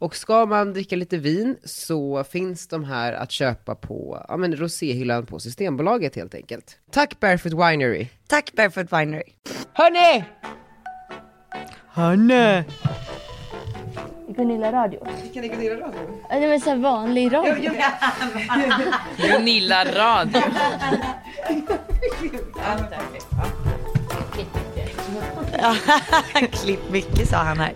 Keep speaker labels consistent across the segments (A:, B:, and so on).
A: Och ska man dricka lite vin så finns de här att köpa på ja, men roséhyllan på Systembolaget helt enkelt. Tack Barefoot Winery!
B: Tack Barefoot Winery.
A: Hörni! Hörni!
C: Gunilla radio.
A: Kan ni Gunilla radio?
C: Ja, Det var så här vanlig radio.
D: Gunilla radio.
B: Klipp mycket sa han här.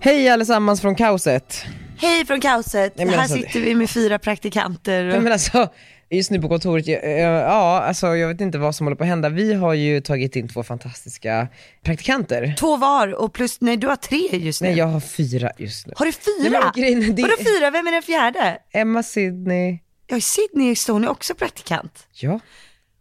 A: Hej allesammans från kaoset!
B: Hej från kaoset.
A: Nej, men
B: här
A: alltså-
B: sitter vi med fyra praktikanter.
A: Nej,
B: Och...
A: men alltså, just nu på kontoret, jag- jag- ja alltså jag vet inte vad som håller på att hända. Vi har ju tagit in två fantastiska praktikanter.
B: Två var och plus, nej du har tre just nu.
A: Nej jag har fyra just nu.
B: Har du
A: Nej,
B: fyra?
A: men grejen är det-
B: Vadå fyra? Vem är den fjärde?
A: Emma, Sydney,
B: Ja, Sydney Stone är också praktikant.
A: ja.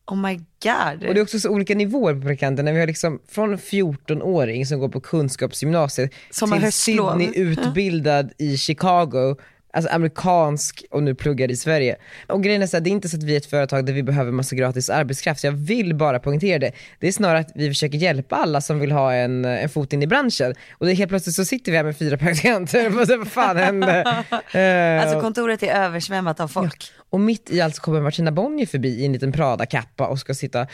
B: Oh my god.
A: Och det är också så olika nivåer på praktikanterna. Vi har liksom från 14-åring som går på kunskapsgymnasiet
B: Som har
A: till
B: höstlov.
A: Sydney utbildad i Chicago, alltså amerikansk och nu pluggar i Sverige. Och grejen är så här, det är inte så att vi är ett företag där vi behöver massa gratis arbetskraft, så jag vill bara poängtera det. Det är snarare att vi försöker hjälpa alla som vill ha en, en fot in i branschen. Och det är helt plötsligt så sitter vi här med fyra praktikanter, Vad- vad fan hände? Eh,
B: Alltså kontoret är översvämmat av folk.
A: och mitt i allt så kommer Martina Bonnier förbi i en liten Prada-kappa och ska sitta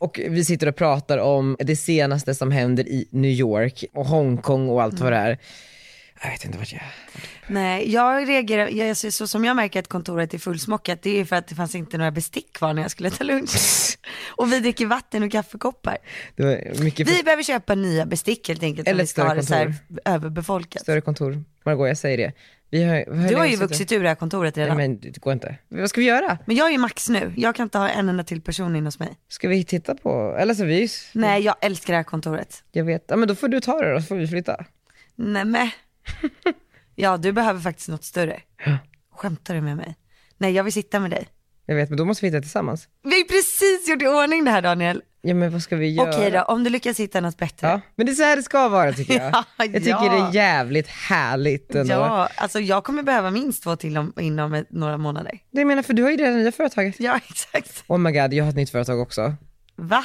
A: och vi sitter och pratar om det senaste som händer i New York och Hongkong och allt vad det är. Jag vet inte vart jag är.
B: Nej, jag reagerar, jag, alltså, så, så som jag märker att kontoret är fullsmockat, det är för att det fanns inte några bestick kvar när jag skulle ta lunch. och vi dricker vatten och kaffekoppar.
A: Det var mycket
B: Vi behöver köpa nya bestick helt enkelt
A: Eller
B: om vi ska
A: ett
B: ha det så
A: större
B: här överbefolkat.
A: större kontor. Margot, jag säger det. Vi har, vad
B: Du har ju
A: länge suttit-
B: vuxit ur det här kontoret
A: Nej
B: redan.
A: men det går inte. Vad ska vi göra?
B: Men jag är ju max nu, jag kan inte ha en enda till person inne hos mig.
A: Ska vi titta på, eller så vi,
B: Nej, jag älskar det här kontoret.
A: jag vet, ja men då får du ta det då så får vi flytta.
B: Nej men. Ja, du behöver faktiskt något större. Skämtar du med mig? Nej, jag vill sitta med dig.
A: Jag vet men då måste vi hitta tillsammans.
B: Vi har ju precis gjort i ordning det här Daniel.
A: Ja men vad ska vi göra?
B: Okej då, om du lyckas hitta något bättre.
A: Ja, men det är så här det ska vara tycker jag.
B: Ja,
A: Jag tycker
B: ja.
A: det är jävligt härligt ändå.
B: Ja, alltså jag kommer behöva minst två till om, inom ett, några månader.
A: Det jag menar, för du har ju det nya företaget.
B: Ja, exakt.
A: Oh my god, jag har ett nytt företag också.
B: Va?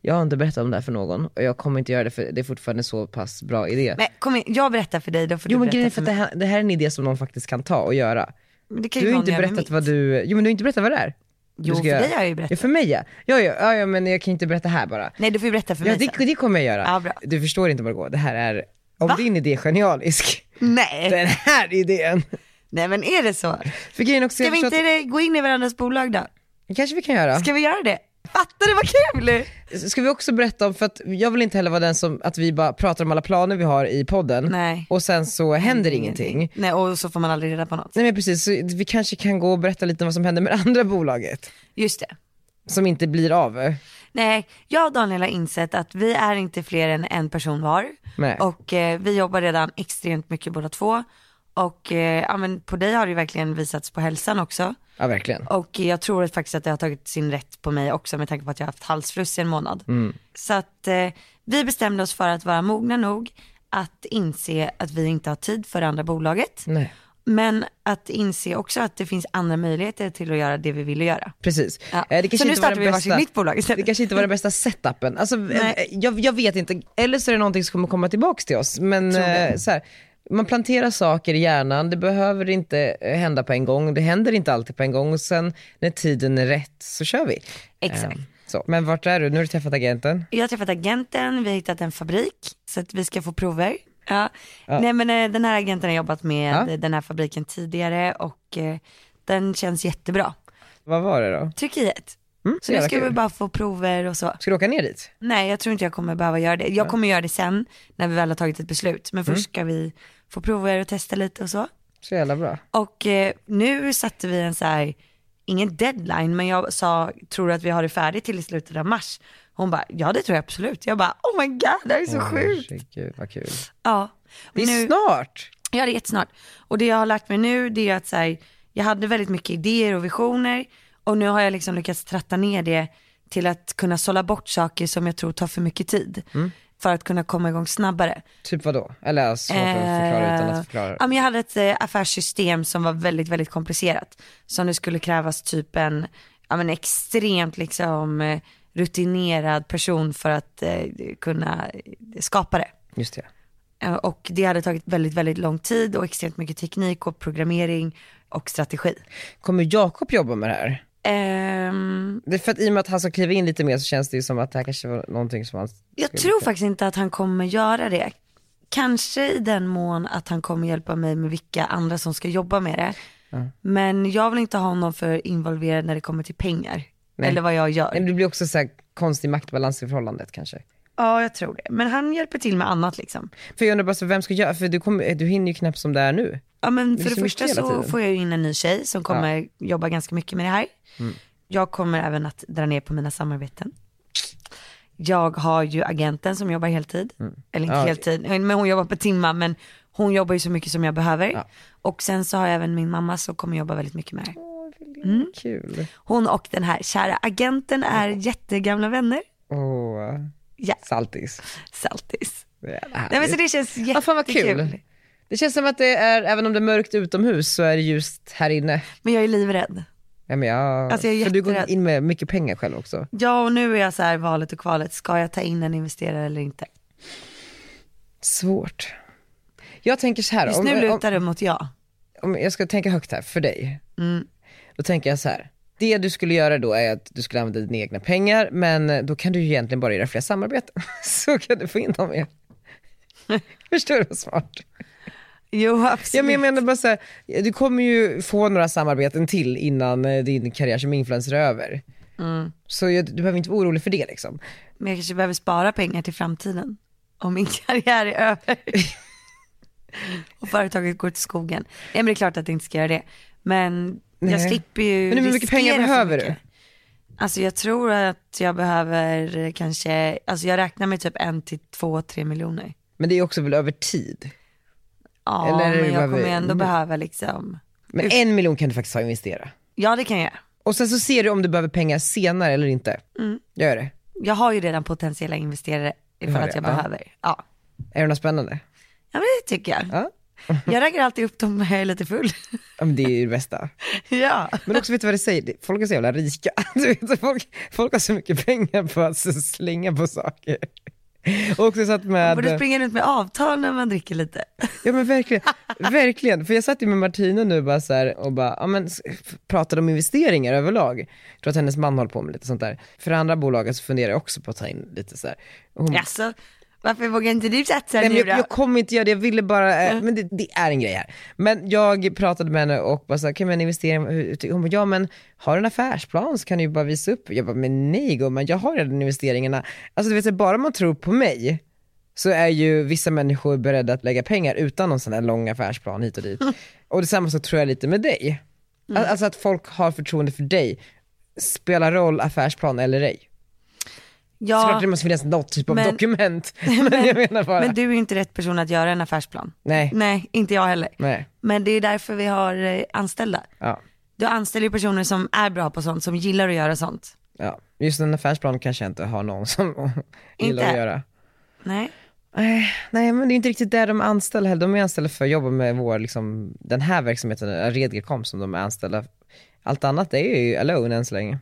A: Jag har inte berättat om det här för någon och jag kommer inte göra det för det är fortfarande en så pass bra idé.
B: Men kom igen, jag berättar för dig, då får
A: jo
B: du
A: men
B: berätta
A: grejen är för att det
B: mig.
A: här, det här är en idé som någon faktiskt kan ta och göra.
B: Men det kan ju
A: Du har
B: någon
A: inte
B: göra med
A: berättat
B: mitt.
A: vad du, jo men du har inte berättat vad det är.
B: Jo,
A: du ska
B: för
A: göra.
B: dig har jag ju
A: Ja
B: berättat.
A: för mig ja. Ja, ja, ja, ja men jag kan ju inte berätta här bara.
B: Nej, du får ju berätta för
A: Ja
B: mig
A: det,
B: sen.
A: det kommer jag göra.
B: Ja, bra.
A: Du förstår inte Margot, det här är, om
B: Va? Eh.
A: din idé är genialisk,
B: Nej.
A: den här idén.
B: Nej, men är det så?
A: För grejen är också,
B: Ska
A: jag
B: vi
A: förstår
B: inte eh, gå in i varandras bolag då?
A: att, kanske vi kan göra.
B: Ska vi göra det? Fattar du vad kul?
A: Ska vi också berätta om, för att jag vill inte heller vara den som, att vi bara pratar om alla planer vi har i podden
B: Nej.
A: och sen så händer ingenting.
B: Nej, och så får man aldrig reda på något.
A: Nej men precis, så vi kanske kan gå och berätta lite om vad som händer med det andra bolaget
B: Just det.
A: som inte blir av.
B: Nej, jag och Daniel har insett att vi är inte fler än en person var.
A: Nej.
B: Och eh, vi jobbar redan extremt mycket båda två. Och eh, ja, men på dig har det ju verkligen visats på hälsan också.
A: Ja verkligen.
B: Och jag tror att faktiskt att det har tagit sin rätt på mig också med tanke på att jag har haft halsfluss i en månad.
A: Mm.
B: Så att eh, vi bestämde oss för att vara mogna nog att inse att vi inte har tid för det andra bolaget.
A: Nej.
B: Men att inse också att det finns andra möjligheter till att göra det vi ville göra.
A: Precis.
B: Ja.
A: Eh, Det kanske
B: Så nu
A: inte var
B: startar
A: den
B: vi varsitt
A: bästa-
B: nytt bolag
A: Det
B: istället.
A: kanske inte var den bästa setupen. Alltså, eh, jag, jag vet inte, eller så är det någonting som kommer komma tillbaka till oss. Men
B: Tror det.
A: eh, så här, man planterar saker i hjärnan, det behöver inte eh, hända på en gång, det händer inte alltid på en gång och sen när tiden är rätt så kör vi.
B: Exakt.
A: Eh, Så. Men vart är du? Nu har du träffat agenten.
B: Jag har träffat agenten, vi har hittat en fabrik så att vi ska få prover. Ja. Nej men eh, den här agenten har jobbat med
A: Ja.
B: den här fabriken tidigare och eh, den känns jättebra.
A: Vad var det då? Mm,
B: Turkiet. så nu
A: jävla
B: ska
A: kul.
B: vi bara få prover och så.
A: Ska du åka ner dit?
B: Nej jag tror inte jag kommer behöva göra det. Jag kommer göra det sen när vi väl har tagit ett beslut. Men
A: Mm.
B: först ska vi få prover och testa lite och så.
A: Så jävla bra.
B: Och eh, nu satte vi en så här ingen deadline, men jag sa, tror du att vi har det färdigt till i slutet av mars? Hon bara, ja det tror jag absolut. Jag bara, oh my god, det här är så sjukt.
A: Herregud vad kul.
B: Ja.
A: Det är
B: Nu-
A: snart!
B: Ja, det är jättesnart. Och det jag har lärt mig nu det är att så här, jag hade väldigt mycket idéer och visioner och nu har jag liksom lyckats tratta ner det till att kunna sålla bort saker som jag tror tar för mycket tid
A: Mm.
B: för att kunna komma igång snabbare.
A: Typ vadå? Eller svårt att förklara utan att förklara.
B: Eh, Ja, men jag hade ett eh, affärssystem som var väldigt, väldigt komplicerat. Som det skulle krävas typ en ja, men extremt liksom, eh, rutinerad person för att eh, kunna eh, skapa det.
A: Just det.
B: Eh, Och det hade tagit väldigt, väldigt lång tid och extremt mycket teknik och programmering och strategi.
A: Kommer Jakob jobba med det här?
B: Ehm,
A: Det är för att i och med att han ska kliva in lite mer så känns det ju som att det här kanske var någonting som han...
B: jag
A: skulle-
B: tror faktiskt inte att han kommer göra det. Kanske i den mån att han kommer hjälpa mig med vilka andra som ska jobba med det. Men jag vill inte ha honom för involverad när det kommer till pengar.
A: Nej.
B: Eller vad jag
A: Nej,
B: gör.
A: men det blir också så här konstig maktbalans i förhållandet kanske.
B: Ja, jag tror det. Men han hjälper till med annat liksom.
A: För jag undrar bara, så vem ska göra, för du, kommer, du hinner ju knappt som det är nu.
B: Ja men
A: Det
B: för
A: är
B: det
A: så
B: första
A: mycket hela
B: så
A: tiden.
B: får jag ju in en ny tjej som kommer jobba ganska mycket med det här.
A: Mm.
B: Jag kommer även att dra ner på mina samarbeten. Jag har ju agenten som jobbar heltid, eller inte
A: Mm. Ja.
B: heltid, men hon jobbar på timmar men hon jobbar ju så mycket som jag behöver.
A: Ja.
B: Och sen så har jag även min mamma som kommer jobba väldigt mycket med det här. Mm.
A: Kul.
B: Hon och den här kära agenten är jättegamla vänner.
A: Åh,
B: Ja,
A: saltis.
B: saltis.
A: Det är
B: Nej men
A: härligt.
B: så det känns jättekul.
A: Ja, fan vad kul. Det känns som att det är, även om det är mörkt utomhus så är det ljust här inne.
B: Men jag är livrädd.
A: Ja, men jag,
B: Alltså, jag är
A: för du går
B: jätterädd.
A: in med mycket pengar själv också.
B: Ja och nu är jag så här valet och kvalet, ska jag ta in en investerare eller inte?
A: Svårt. Jag tänker så här,
B: Just
A: om,
B: nu
A: om,
B: lutar det mot ja.
A: om jag ska tänka högt här för dig.
B: Mm.
A: Då tänker jag så här. Det du skulle göra då är att du skulle använda dina egna pengar men eh, då kan du ju egentligen bara göra fler samarbeten. Så kan du få in dem igen. Förstår du vad smart?
B: Jo absolut.
A: Ja, men jag menar bara så här, du kommer ju få några samarbeten till innan eh, din karriär som influencer är över.
B: Mm.
A: Så jag, du behöver inte vara orolig för det liksom.
B: Men jag kanske behöver spara pengar till framtiden. Om min karriär är över. och företaget går till skogen. Ja men det är klart att jag inte ska göra det. Men jag
A: Nej.
B: slipper ju
A: Men hur mycket
B: riskera
A: pengar
B: för
A: behöver
B: mycket. Alltså jag tror att jag behöver eh, kanske, alltså jag räknar med typ en till två, tre miljoner.
A: Men det är ju också väl över tid.
B: Ja
A: Eller är det
B: men jag
A: bara
B: kommer
A: vi- Mm.
B: ändå behöva liksom,
A: Men en miljon kan du faktiskt ha och investera.
B: ja det kan jag göra.
A: Och sen så ser du om du behöver pengar senare eller inte. Jag gör det.
B: Jag har ju redan potentiella investerare ifall
A: har
B: att
A: det,
B: jag
A: ja.
B: behöver. Ja.
A: Är det något spännande?
B: ja men det tycker jag.
A: Ja.
B: Jag raggar alltid upp dem när jag är lite full.
A: ja men det är ju det bästa.
B: ja.
A: Men också vet du vad det säger? Det- Folk är så jävla rika. Du vet, folk, folk har så mycket pengar på att så slänga på saker. Och också satt
B: Borde
A: med...
B: springa runt med avtal när man dricker lite.
A: Ja men verkligen, verkligen. För jag satt ju med Martina nu bara så här och bara, ja men s- f- pratade om investeringar överlag. Jag tror att hennes man håller på med lite sånt där. För det andra bolaget så funderar jag också på att ta in lite så här. Och hon,
B: Alltså, varför vågar inte du satsa
A: Mm. Nej, men
B: nu
A: jag,
B: då?
A: jag kommer inte göra det, jag ville bara, eh, men det, det är en grej här. Men jag pratade med henne och bara såhär, kan man investera, hur- hon bara, ja men har du en affärsplan så kan du ju bara visa upp. Jag bara, men nej gumman, jag har redan investeringarna. Alltså du vet, så här, bara man tror på mig så är ju vissa människor beredda att lägga pengar utan någon sån här lång affärsplan hit och dit.
B: Mm.
A: Och detsamma så tror jag lite med dig. Al- Alltså att folk har förtroende för dig, spelar roll affärsplan eller ej. Såklart
B: ja,
A: det måste finnas något typ av
B: Men-
A: dokument, men jag menar bara,
B: men du är ju inte rätt person att göra en affärsplan.
A: nej,
B: Nej, inte jag heller.
A: nej,
B: Men det är därför vi har eh, anställda.
A: ja.
B: Du anställer ju personer som är bra på sånt, som gillar att göra sånt.
A: Ja, just en affärsplan kanske jag inte har någon som gillar att
B: Inte?
A: göra.
B: Nej.
A: Nej, Eh, Nej, men det är inte riktigt där de är anställda heller. De är anställda för att jobba med vår, liksom, den här verksamheten, Redgercom, som de är anställda Allt annat är ju alone än så länge.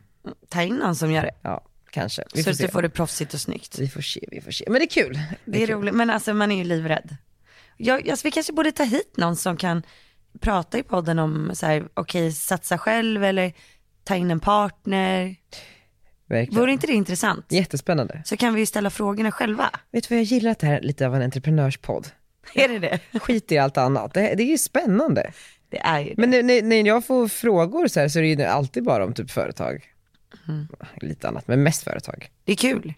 B: Ta in någon som gör det.
A: Ja, kanske. Vi
B: så
A: får
B: att
A: se.
B: du får det proffsigt och snyggt.
A: Vi får se, vi får se. Men det är kul.
B: Det är roligt, men alltså man är ju livrädd. Jag, alltså, vi kanske borde ta hit någon som kan prata i podden om så här, okej satsa själv eller ta in en partner.
A: Verkligen.
B: Vore inte det intressant?
A: Jättespännande.
B: Så kan vi ju ställa frågorna själva.
A: Vet du vad jag gillar att det här är lite av en entreprenörspodd?
B: Är det det?
A: Skit i allt annat. Det, det är ju spännande.
B: Det är ju det.
A: Men när- när, när jag får frågor så här så är det
B: Mm.
A: ju alltid bara om typ företag. Lite annat, men mest företag.
B: Det är kul.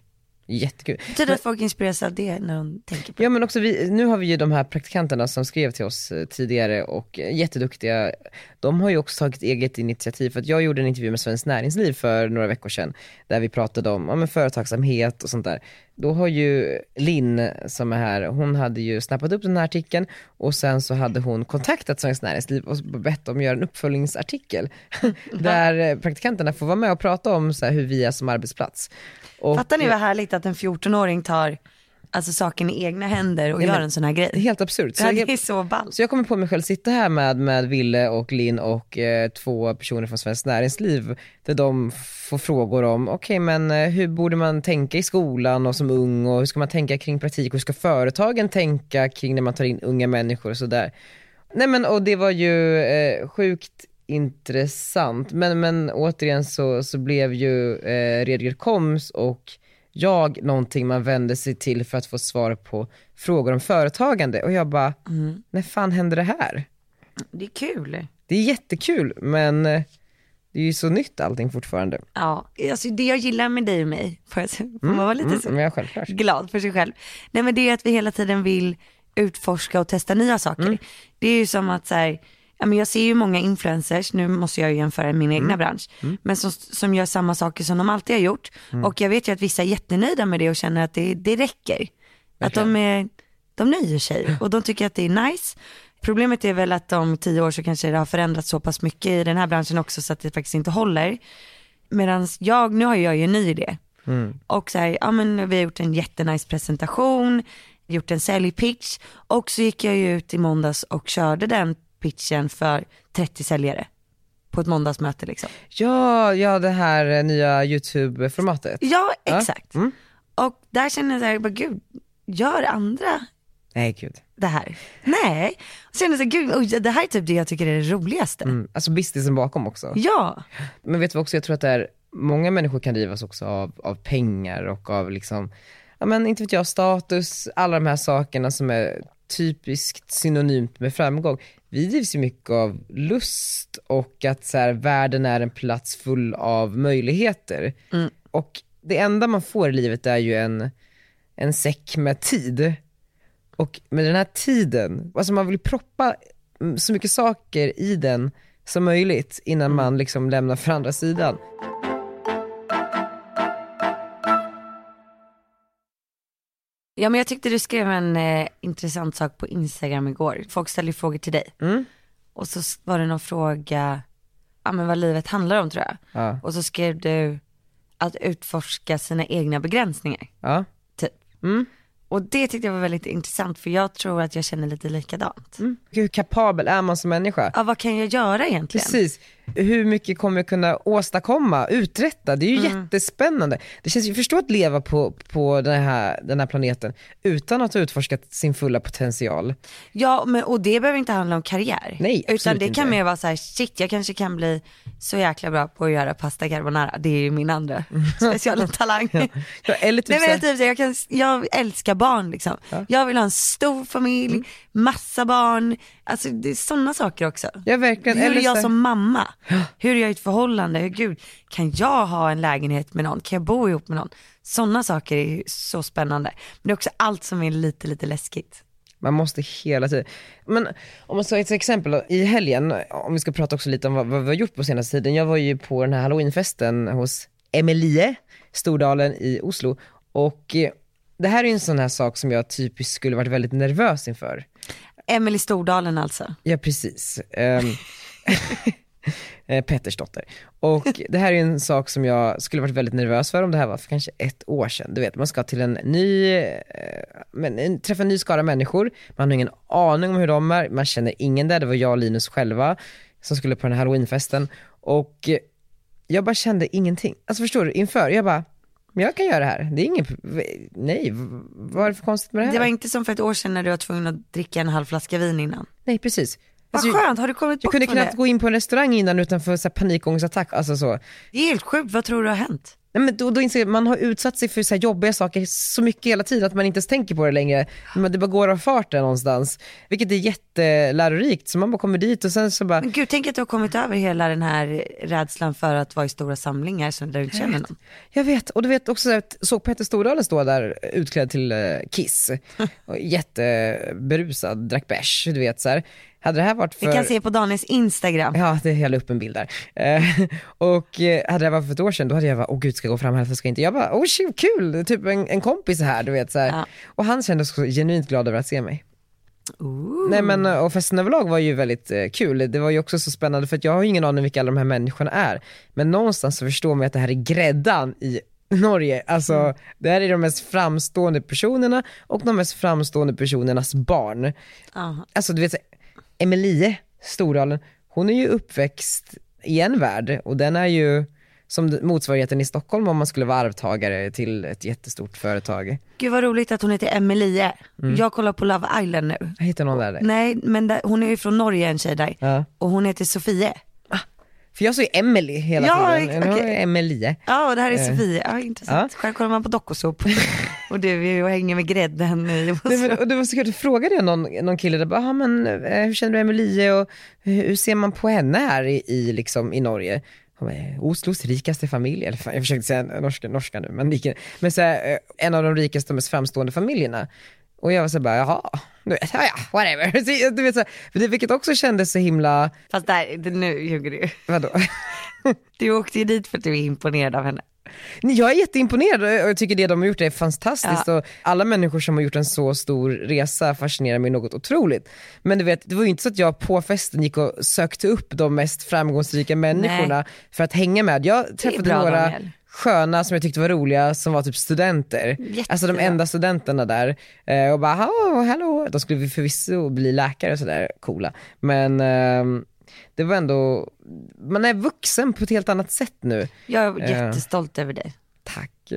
A: Jättekul.
B: Betyder att folk inspireras av det när de tänker på det.
A: Ja men också vi, nu har vi ju de här praktikanterna som skrev till oss eh, tidigare och eh, jätteduktiga. De har ju också tagit eget initiativ för att jag gjorde en intervju med Svenskt Näringsliv för några veckor sedan där vi pratade om ja, men företagsamhet och sånt där. Då har ju Linn som är här, hon hade ju snappat upp den här artikeln och sen så hade hon kontaktat Svenskt Näringsliv och bett dem göra en uppföljningsartikel där eh, praktikanterna får vara med och prata om så här, hur vi är som arbetsplats. Och-
B: Fattar ni vad härligt att en 14-åring tar alltså, saken i egna händer och
A: Nej,
B: gör
A: men-
B: en sån här grej.
A: Helt absurt. Så
B: Ja,
A: jag-
B: det är så ballt.
A: Så jag kommer på mig själv sitta här med, med Ville och Linn och eh, två personer från Svenskt Näringsliv där de får frågor om, okej men eh, hur borde man tänka i skolan och som ung och hur ska man tänka kring praktik och hur ska företagen tänka kring när man tar in unga människor och sådär. Nej men och det var ju eh, sjukt intressant men, men återigen så, så blev ju eh, Redger Koms och jag någonting man vände sig till för att få svar på frågor om företagande och jag bara,
B: Mm.
A: när fan händer det här?
B: Det är kul.
A: Det är jättekul men eh, det är ju så nytt allting fortfarande.
B: Ja, alltså det jag gillar med dig och mig, får jag säga, får man vara lite
A: Mm,
B: så
A: men ja, självklart.
B: glad för sig själv. Nej men det är att vi hela tiden vill utforska och testa nya saker. Det är ju som att så här, ja, men jag ser ju många influencers, nu måste jag ju jämföra min egna bransch, men som, som gör samma saker som de alltid har gjort. Och jag vet ju att vissa är jättenöjda med det och känner att det, det räcker. Att de, är, de nöjer sig och de tycker att det är nice. Problemet är väl att om tio år så kanske det har förändrats så pass mycket i den här branschen också så att det faktiskt inte håller. Medan jag, nu har jag ju en ny idé. Och så här, ja men vi har gjort en jättenice presentation, gjort en säljpitch och så gick jag ju ut i måndags och körde den pitchen för 30 säljare på ett måndagsmöte liksom.
A: Ja, ja det här eh, nya YouTube-formatet.
B: Ja,
A: Ja.
B: exakt.
A: Mm.
B: Och där kände jag så här, bara, gud, gör andra
A: Nej gud.
B: det här? Nej. Och sen så här, gud, oj, det här är typ det jag tycker är det roligaste.
A: Mm. Alltså businessen bakom också.
B: Ja,
A: Men vet du vad också, jag tror att det är, många människor kan drivas också av, av pengar och av liksom, ja men inte vet jag, status, alla de här sakerna som är typiskt synonymt med framgång. Vi drivs ju mycket av lust och att så här, världen är en plats full av möjligheter. Och det enda man får i livet är ju en, en säck med tid. Och med den här tiden, alltså man vill proppa mm, så mycket saker i den som möjligt innan
B: Mm.
A: man liksom lämnar för andra sidan.
B: Ja men jag tyckte du skrev en eh, intressant sak på Instagram igår. Folk ställer ju frågor till dig.
A: Mm.
B: Och så s- var det någon fråga, ja men vad livet handlar om tror jag.
A: Ja.
B: Och så skrev du att utforska sina egna begränsningar,
A: Ja.
B: typ.
A: Mm.
B: Och det tyckte jag var väldigt intressant för jag tror att jag känner lite likadant.
A: Mm. Hur kapabel är man som människa?
B: Ja vad kan jag göra egentligen?
A: Precis. Hur mycket kommer jag kunna åstadkomma, uträtta? Det är
B: Mm.
A: ju jättespännande. Det känns ju, förstå att leva på, på den, här, den här planeten utan att ha utforskat sin fulla potential.
B: Ja, men, och det behöver inte handla om karriär.
A: Nej, absolut
B: Utan det
A: inte.
B: kan mer vara så här, shit jag kanske kan bli så jäkla bra på att göra pasta carbonara. Det är ju min andra speciella talang.
A: Mm. Ja, Eller typ
B: Nej, men
A: såhär,
B: jag, typ, så här, jag, kan, jag älskar barn liksom. Jag vill ha en stor familj, massa barn. Alltså det är sådana saker också.
A: ja, verkligen.
B: Hur
A: Eller
B: är jag
A: såhär-
B: som mamma? Hur är jag i ett förhållande? Hur, gud, kan jag ha en lägenhet med någon? Kan jag bo ihop med någon? Sådana saker är ju så spännande. Men det är också allt som är lite, lite läskigt.
A: Man måste hela tiden. Men om man ska ett exempel då, i helgen, om vi ska prata också lite om vad, vad vi har gjort på senaste tiden. Jag var ju på den här halloweenfesten hos Emelie, Stordalen i Oslo. Och eh, det här är ju en sån här sak som jag typiskt skulle varit väldigt nervös inför.
B: Emelie Stordalen alltså.
A: Ja precis. Ehm, eh, Petters dotter. Och det här är en sak som jag skulle varit väldigt nervös för om det här var för kanske ett år sedan. Du vet, man ska till en ny, eh, men, en- träffa en ny skara människor, man har ingen aning om hur de är, man känner ingen där, det var jag och Linus själva som skulle på den här halloweenfesten. Och eh, jag bara kände ingenting. Alltså förstår du, inför, jag bara, men jag kan göra det här. Det är ingen, nej, vad är det för konstigt med det här?
B: Det var inte som för ett år sedan när du var tvungen att dricka en halv flaska vin innan.
A: Nej precis.
B: Vad
A: Alltså,
B: skönt, har du kommit
A: jag
B: bort
A: kunde
B: från
A: knappt
B: det?
A: gå in på en restaurang innan utan för så här panikångestattack, alltså så.
B: Det är helt sjukt, vad tror du har hänt?
A: Nej, men då, då inser jag, man har utsatt sig för så här jobbiga saker så mycket hela tiden att man inte ens tänker på det längre. Men det bara går av farten någonstans. Vilket är jättelärorikt. Så man bara kommer dit och sen så bara,
B: Men gud, tänk att du har kommit över hela den här rädslan för att vara i stora samlingar som där du inte känner någon.
A: jag vet. Och du vet också, så här, såg Petter Stordalen stå där utklädd till eh, Kiss. Och jätteberusad, drack bärs, du vet så här. Hade det här varit för... Eh.
B: Vi kan se på Daniels Instagram.
A: Ja, det jag la upp en bild där. Eh, och eh, hade det varit för ett år sedan, då hade jag bara, åh gud ska jag gå fram här, eller ska jag inte? Jag bara, åh shit, kul, typ en, en kompis här, du vet så här.
B: Ja.
A: Och han kände sig så genuint glad över att se mig.
B: Ooh.
A: Nej men, eh, och festen överlag var ju väldigt eh, kul. Det var ju också så spännande, för att jag har ju ingen aning vilka alla de här människorna är. Men någonstans så förstår man ju att det här är gräddan i Norge, alltså det här är de mest framstående personerna och de mest framstående personernas barn
B: Ja.
A: alltså du vet, så- Emelie Stordalen, hon är ju uppväxt i en värld och den är ju som motsvarigheten i Stockholm om man skulle vara arvtagare till ett jättestort företag.
B: Gud vad roligt att hon heter Emelie.
A: Mm.
B: Jag kollar på Love Island nu.
A: Jag hittade någon där. där.
B: Nej, men där, hon är ju från Norge en tjej där.
A: Ja.
B: Och hon heter Sofie.
A: För jag sa ju Emily hela
B: Ja,
A: tiden.
B: ex-
A: Nu har
B: okej.
A: jag Emelie.
B: Ja, och det här
A: Eh.
B: är Sofie. Ja, intressant. Själv kollar man på dokusåpor. och du är ju och hänger med grädden i
A: Nej, men, och det var så kul, då frågade jag någon, någon kille där, bara, "Ah, men, eh, hur känner du Emelie och hur, hur ser man på henne här i, i, liksom, i Norge? Han bara, "Eh, Oslos rikaste familj, eller fan, jag försökte säga norska, norska nu, men, det gick inte. men så här, eh, en av de rikaste och mest framstående familjerna. Och jag var så här bara, jaha, du vet, ja, ja, whatever. Så, Du vet, så här, för det- vilket också kändes så himla,
B: Fast där, det- nu ljuger du.
A: vadå?
B: Du åkte ju dit för att du är imponerad av henne.
A: Nej, Jag är jätteimponerad och jag tycker det de har gjort är fantastiskt och alla människor som har gjort en så stor resa fascinerar mig något otroligt. Men du vet, det var ju inte så att jag på festen gick och sökte upp de mest framgångsrika människorna för att hänga med. Jag träffade
B: bra,
A: några
B: Daniel.
A: sköna som jag tyckte var roliga som var typ studenter.
B: Jättebra.
A: Alltså de enda studenterna där. Eh, Och bara hallå, hallå. De skulle förvisso bli läkare och sådär coola. Men ehm, det var ändå, man är vuxen på ett helt annat sätt nu.
B: Jag är jättestolt över dig.
A: Tack.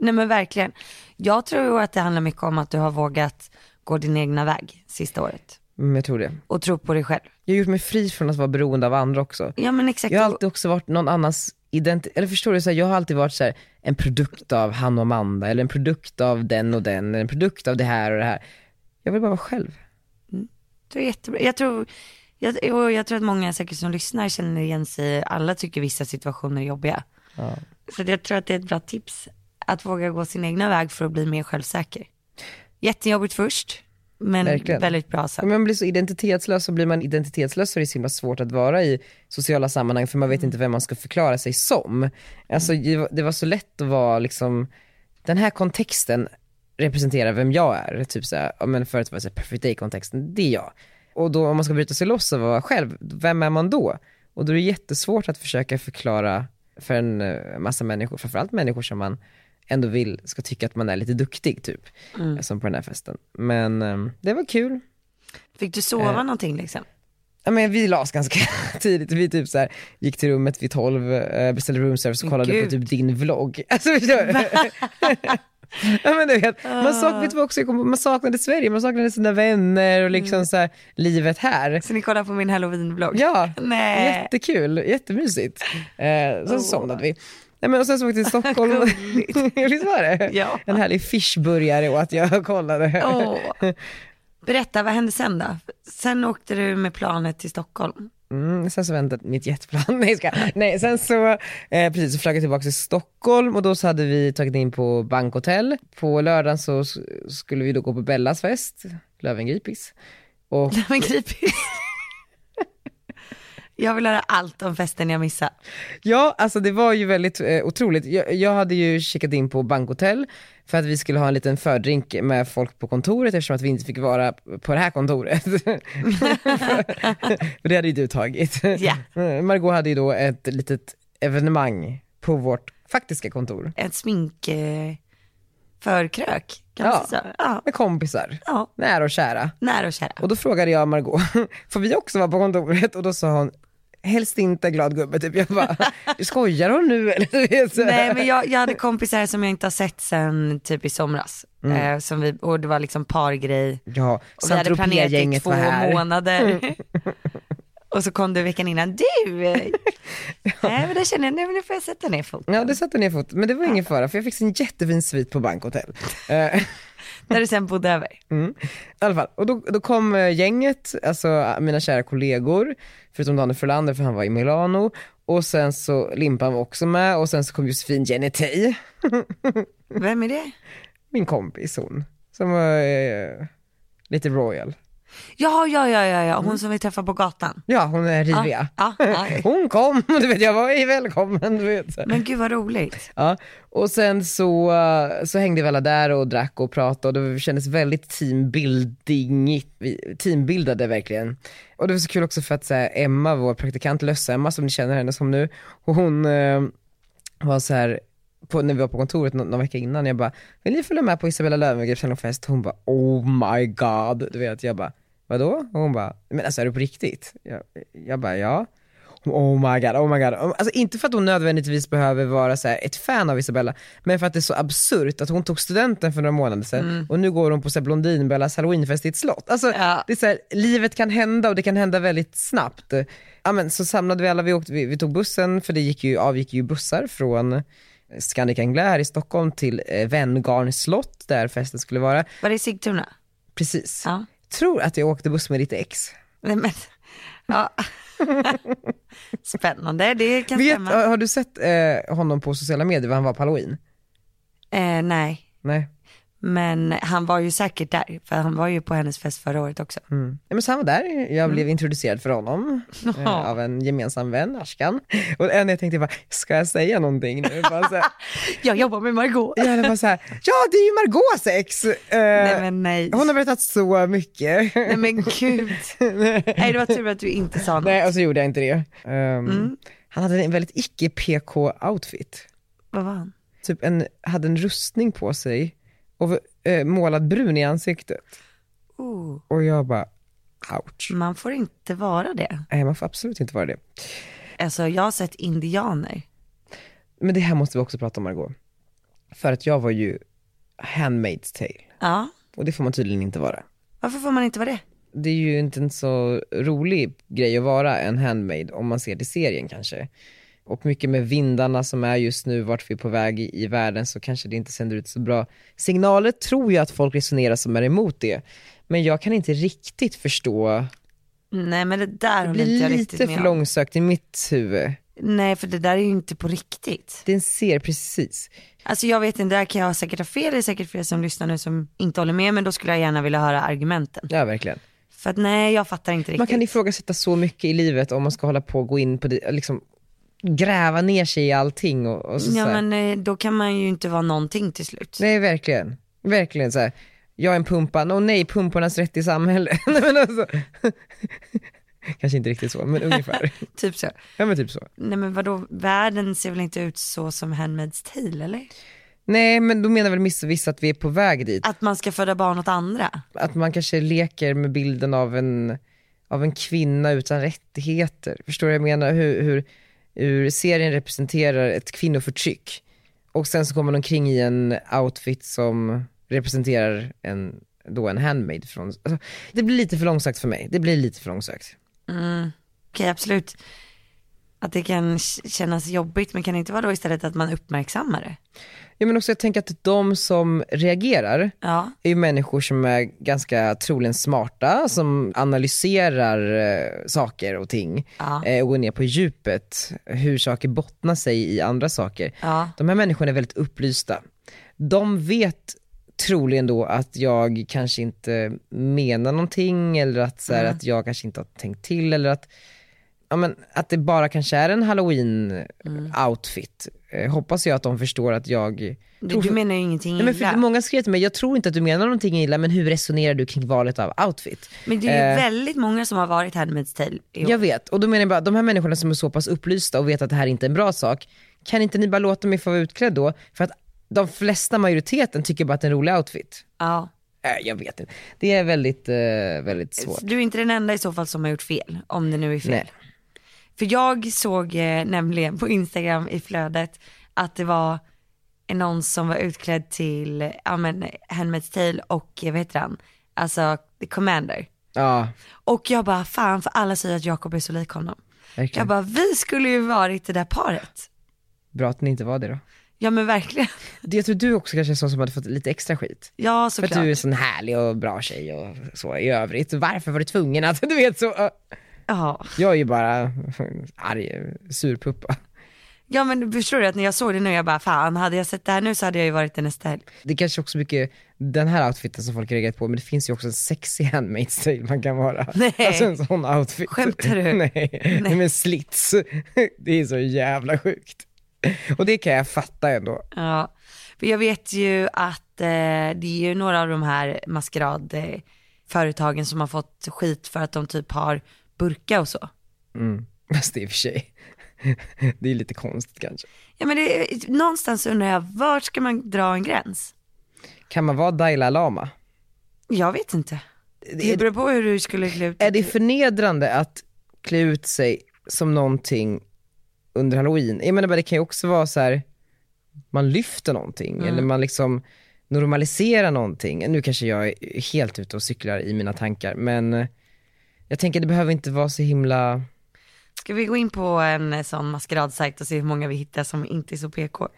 B: Nej men verkligen. Jag tror att det handlar mycket om att du har vågat gå din egna väg sista året.
A: Mm, jag tror det.
B: Och tro på dig själv.
A: Jag har gjort mig fri från att vara beroende av andra också.
B: Ja men exakt.
A: Jag har alltid också varit någon annans identitet, eller förstår du, så här, jag har alltid varit så här, en produkt av han och Amanda, eller en produkt av den och den, eller en produkt av det här och det här. Jag vill bara vara själv.
B: Det är jättebra. Jag tror, jag, och jag tror att många säkert som lyssnar känner igen sig. Alla tycker vissa situationer är jobbiga. Så jag tror att det är ett bra tips. Att våga gå sin egna väg för att bli mer självsäker. Jättejobbigt först, men
A: Verkligen.
B: väldigt bra sen.
A: Om man blir så identitetslös så blir man identitetslös så är det så himla svårt att vara i sociala sammanhang för man vet inte vem man ska förklara sig som. Alltså det var- det var så lätt att vara liksom, den här kontexten representerar vem jag är. Typ såhär, ja, men förut var det såhär, perfect day-kontexten, det är jag. Och då om man ska bryta sig loss och vara själv, vem är man då? Och då är det jättesvårt att försöka förklara för en eh, massa människor, framförallt människor som man ändå vill ska tycka att man är lite duktig typ. Som på den här festen. Men eh, det var kul.
B: Fick du sova
A: Eh.
B: någonting liksom?
A: Ja, men vi la oss ganska tidigt, vi typ så här, gick till rummet vid 12, eh, beställde roomservice och kollade
B: Gud.
A: på typ din vlogg. Alltså förstår du? ja, men du vet,
B: Ah.
A: man, sak, vet du vad också, jag kom på? man saknade Sverige, man saknade sina vänner och
B: Mm.
A: liksom så här, livet här.
B: Så ni kollar på min halloween-vlogg?
A: Ja,
B: Nej.
A: jättekul, jättemysigt. Eh, så
B: Eh. Åh.
A: somnade vi. Nej, men och sen så åkte vi till Stockholm. Visst var det?
B: Ja.
A: En härlig fishburgare åt jag och kollade.
B: Åh. Berätta, vad hände sen då? Sen åkte du med planet till Stockholm.
A: Mm, sen så väntade mitt jetplan. Nej, ska. Nej sen så, eh, precis, så flög jag tillbaka till Stockholm och då så hade vi tagit in på bankhotell. På lördagen så s- skulle vi då gå på Bellas fest, Löwengripis. Och
B: Men creepy. Jag vill höra allt om festen jag missade.
A: Ja, alltså det var ju väldigt eh, otroligt. Jag, jag hade ju checkat in på bankhotell för att vi skulle ha en liten fördrink med folk på kontoret eftersom att vi inte fick vara på det här kontoret. för det hade ju du tagit.
B: Ja.
A: Eh, Margot hade ju då ett litet evenemang på vårt faktiska kontor
B: Ett smink eh, förkrök, kan
A: Ja.
B: man säga så? Ja.
A: med kompisar,
B: ja.
A: nära och kära.
B: Nära och kära.
A: Och då frågade jag Margot, får vi också vara på kontoret? Och då sa hon, helst inte glad gubbe typ. Jag bara, skojar hon nu eller? Så-
B: Nej men jag, jag hade kompisar som jag inte har sett sen typ i somras. Eh, som vi, och det var liksom pargrej.
A: Ja,
B: Och vi hade planerat i
A: Saint-Tropez-gänget
B: två
A: var här.
B: månader. Och så kom du veckan innan, du! eh, Nej men då känner jag, nej men nu får jag sätta ner foten.
A: Ja, det satte ner foten, men det var ingen fara för jag fick en jättefin svit på bankhotell. Eh,
B: När du sen bodde över.
A: Mm. I alla fall, och då, då kom eh, gänget, alltså mina kära kollegor, förutom Daniel Frölander för han var i Milano, och sen så Limpan var också med och sen så kom Josefin Genetei,
B: Vem är det?
A: min kompis hon, som var eh, lite royal.
B: Ja, ja, ja, ja, ja. hon som vi träffade på gatan.
A: Ja, hon är riviga.
B: Ja, ja.
A: Hon kom, du vet jag var "Hej, välkommen, du vet. så här.
B: Men gud vad roligt.
A: Ja. Och sen så, eh, så hängde vi alla där och drack och pratade och det kändes väldigt teambuildingigt. Vi teambildade verkligen. Och det var så kul också för att så här, Emma, vår praktikant Löss-Emma som ni känner henne som nu, och hon eh, var så här på, när vi var på kontoret någon, någon vecka innan, jag bara, vill ni följa med på Isabella Löwengrips hallonfest? Hon bara, oh my god. Du vet, jag bara, vadå? Och hon bara, men alltså är du på riktigt? Jag, jag bara, ja. Hon, Oh my god, oh my god. Alltså inte för att hon nödvändigtvis behöver vara så här ett fan av Isabella, men för att det är så absurt att hon tog studenten för några månader sedan och nu går hon på så här Blondinbellas halloweenfest i ett slott. Alltså
B: Mm. Ja.
A: det är så här, livet kan hända och det kan hända väldigt snabbt. Ja, men, så samlade vi alla, vi, åkte, vi, vi tog bussen, för det gick ju, avgick ju bussar från Scandic Angler här i Stockholm till eh, Venngarns slott där festen skulle vara.
B: Var det i Sigtuna?
A: Precis.
B: Ja.
A: Tror att jag åkte buss med ditt ex.
B: Nej, men, ja. Spännande, det kan
A: Vet,
B: stämma.
A: har du sett eh, honom på sociala medier, vad han var på halloween?
B: Eh, nej,
A: Nej.
B: men han var ju säkert där, för han var ju på hennes fest förra året också.
A: Mm. Ja, men så han var där, jag blev introducerad för honom eh,
B: Mm. Jaha.
A: av en gemensam vän, Ashkan. Och det enda jag tänkte var, ska jag säga någonting nu? Bara så här,
B: Jag jobbar med Margot.
A: jag hade bara så här, ja det är ju Margaux ex! Eh,
B: Nej men nej.
A: Hon har berättat så mycket.
B: Nej men gud. Nej det var tur att du inte sa något.
A: Nej, och så gjorde jag inte det. Ehm,
B: Mm.
A: Han hade en väldigt icke-PK-outfit.
B: Vad var han?
A: Typ en, hade en rustning på sig och eh, målad brun i ansiktet.
B: Oh,
A: Och jag bara, ouch.
B: man får inte vara det.
A: Nej, man får absolut inte vara det.
B: Alltså jag har sett indianer.
A: Men det här måste vi också prata om Margot. För att jag var ju handmaid's tale.
B: Ja,
A: Och det får man tydligen inte vara.
B: varför får man inte vara det?
A: Det är ju inte en så rolig grej att vara en handmaid om man ser det i serien kanske. Och mycket med vindarna som är just nu, vart vi är på väg i, i världen så kanske det inte sänder ut så bra signaler tror jag att folk resonerar som är emot det. Men jag kan inte riktigt förstå,
B: Nej men det där
A: det
B: håller inte
A: blir
B: jag
A: lite
B: riktigt
A: för
B: med om.
A: långsökt i mitt huvud.
B: Nej för det där är ju inte på riktigt.
A: Det är en serie, precis.
B: Alltså jag vet inte, där kan jag säkert ha fel, det är säkert fler som lyssnar nu som inte håller med men då skulle jag gärna vilja höra argumenten.
A: Ja verkligen.
B: För att nej jag fattar inte riktigt.
A: Man kan ifrågasätta så mycket i livet om man ska hålla på och gå in på det, liksom gräva ner sig i allting och, och så,
B: ja
A: så här.
B: men eh, då kan man ju inte vara någonting till slut.
A: Nej verkligen, verkligen så här. jag är en pumpan, och nej pumpornas rätt i samhället. Nej, men alltså. Kanske inte riktigt så, men ungefär.
B: Typ så.
A: ja men typ så.
B: Nej men vadå, världen ser väl inte ut så som Handmaid's Tale eller?
A: Nej men då menar väl miss- vissa att vi är på väg dit,
B: Att man ska föda barn åt andra.
A: att man kanske leker med bilden av en, av en kvinna utan rättigheter. Förstår du vad jag menar? Hur, hur, hur serien representerar ett kvinnoförtryck. Och sen så kommer man omkring i en outfit som representerar en, då en handmade från, alltså, det blir lite för långsökt för mig. Det blir lite för långsökt.
B: Okej absolut. Att det kan k- kännas jobbigt men kan det inte vara då istället att man uppmärksammar det?
A: Ja men också jag tänker att de som reagerar
B: Ja,
A: är ju människor som är ganska troligen smarta, som analyserar eh, saker och ting
B: Ja.
A: eh, och går ner på djupet, hur saker bottnar sig i andra saker.
B: ja,
A: De här människorna är väldigt upplysta. De vet troligen då att jag kanske inte menar någonting eller att, så här,
B: Mm.
A: att jag kanske inte har tänkt till eller att, ja, men, att det bara kanske är en halloween-outfit. Eh, hoppas jag att de förstår att jag
B: du, du menar ju ingenting
A: Nej,
B: illa.
A: men för många skrev till mig, jag tror inte att du menar någonting illa men hur resonerar du kring valet av outfit?
B: Men det är ju
A: Eh.
B: väldigt många som har varit Handmaid's Tale i år.
A: Jag vet, och då menar jag bara, de här människorna som är så pass upplysta och vet att det här inte är en bra sak, kan inte ni bara låta mig få vara utklädd då? För att de flesta majoriteten tycker bara att det är en rolig outfit.
B: Ja.
A: Äh, jag vet inte, det är väldigt, eh, väldigt svårt.
B: Du är inte den enda i så fall som har gjort fel, om det nu är fel.
A: Nej.
B: För jag såg eh, nämligen på Instagram i flödet att det var någon som var utklädd till, ja men, Handmaid's Tale och, eh, vad heter han, alltså The Commander.
A: Ja,
B: Och jag bara, fan för alla säger att Jakob är så lik honom.
A: verkligen.
B: Jag bara, vi skulle ju varit det där paret.
A: Bra att ni inte var det då.
B: Ja men verkligen.
A: Det- Jag tror du också kanske är sån som hade fått lite extra skit.
B: Ja
A: För att du är
B: såklart.
A: en sån härlig och bra tjej och så i övrigt. Varför var du tvungen att, du vet så. äh,
B: Ja.
A: Jag är ju bara arg surpuppa.
B: ja men förstår du att när jag såg det nu, jag bara, fan hade jag sett det här nu så hade jag ju varit det nästa helg.
A: Det är kanske också mycket den här outfiten som folk har reagerat på, men det finns ju också en sexig handmade stil man kan vara.
B: Nej.
A: Alltså en sån outfit.
B: Skämtar du?
A: Nej. Nej. men slits. Det är så jävla sjukt. Och det kan jag fatta ändå.
B: Ja, för jag vet ju att eh, det är ju några av de här maskeradföretagen som har fått skit för att de typ har burka och så.
A: Mm. Fast det är i och för sig, det är lite konstigt kanske.
B: Ja men det, någonstans undrar jag, vart ska man dra en gräns?
A: Kan man vara Dalai Lama?
B: Jag vet inte. Det beror på hur du skulle klä ut
A: Är det förnedrande att klä ut sig som någonting under halloween? Jag menar bara, det kan ju också vara så här man lyfter någonting
B: Mm.
A: eller man liksom normaliserar någonting. Nu kanske jag är helt ute och cyklar i mina tankar men jag tänker det behöver inte vara så himla,
B: Ska vi gå in på en eh, sån maskeradsajt och se hur många vi hittar som inte är så PK?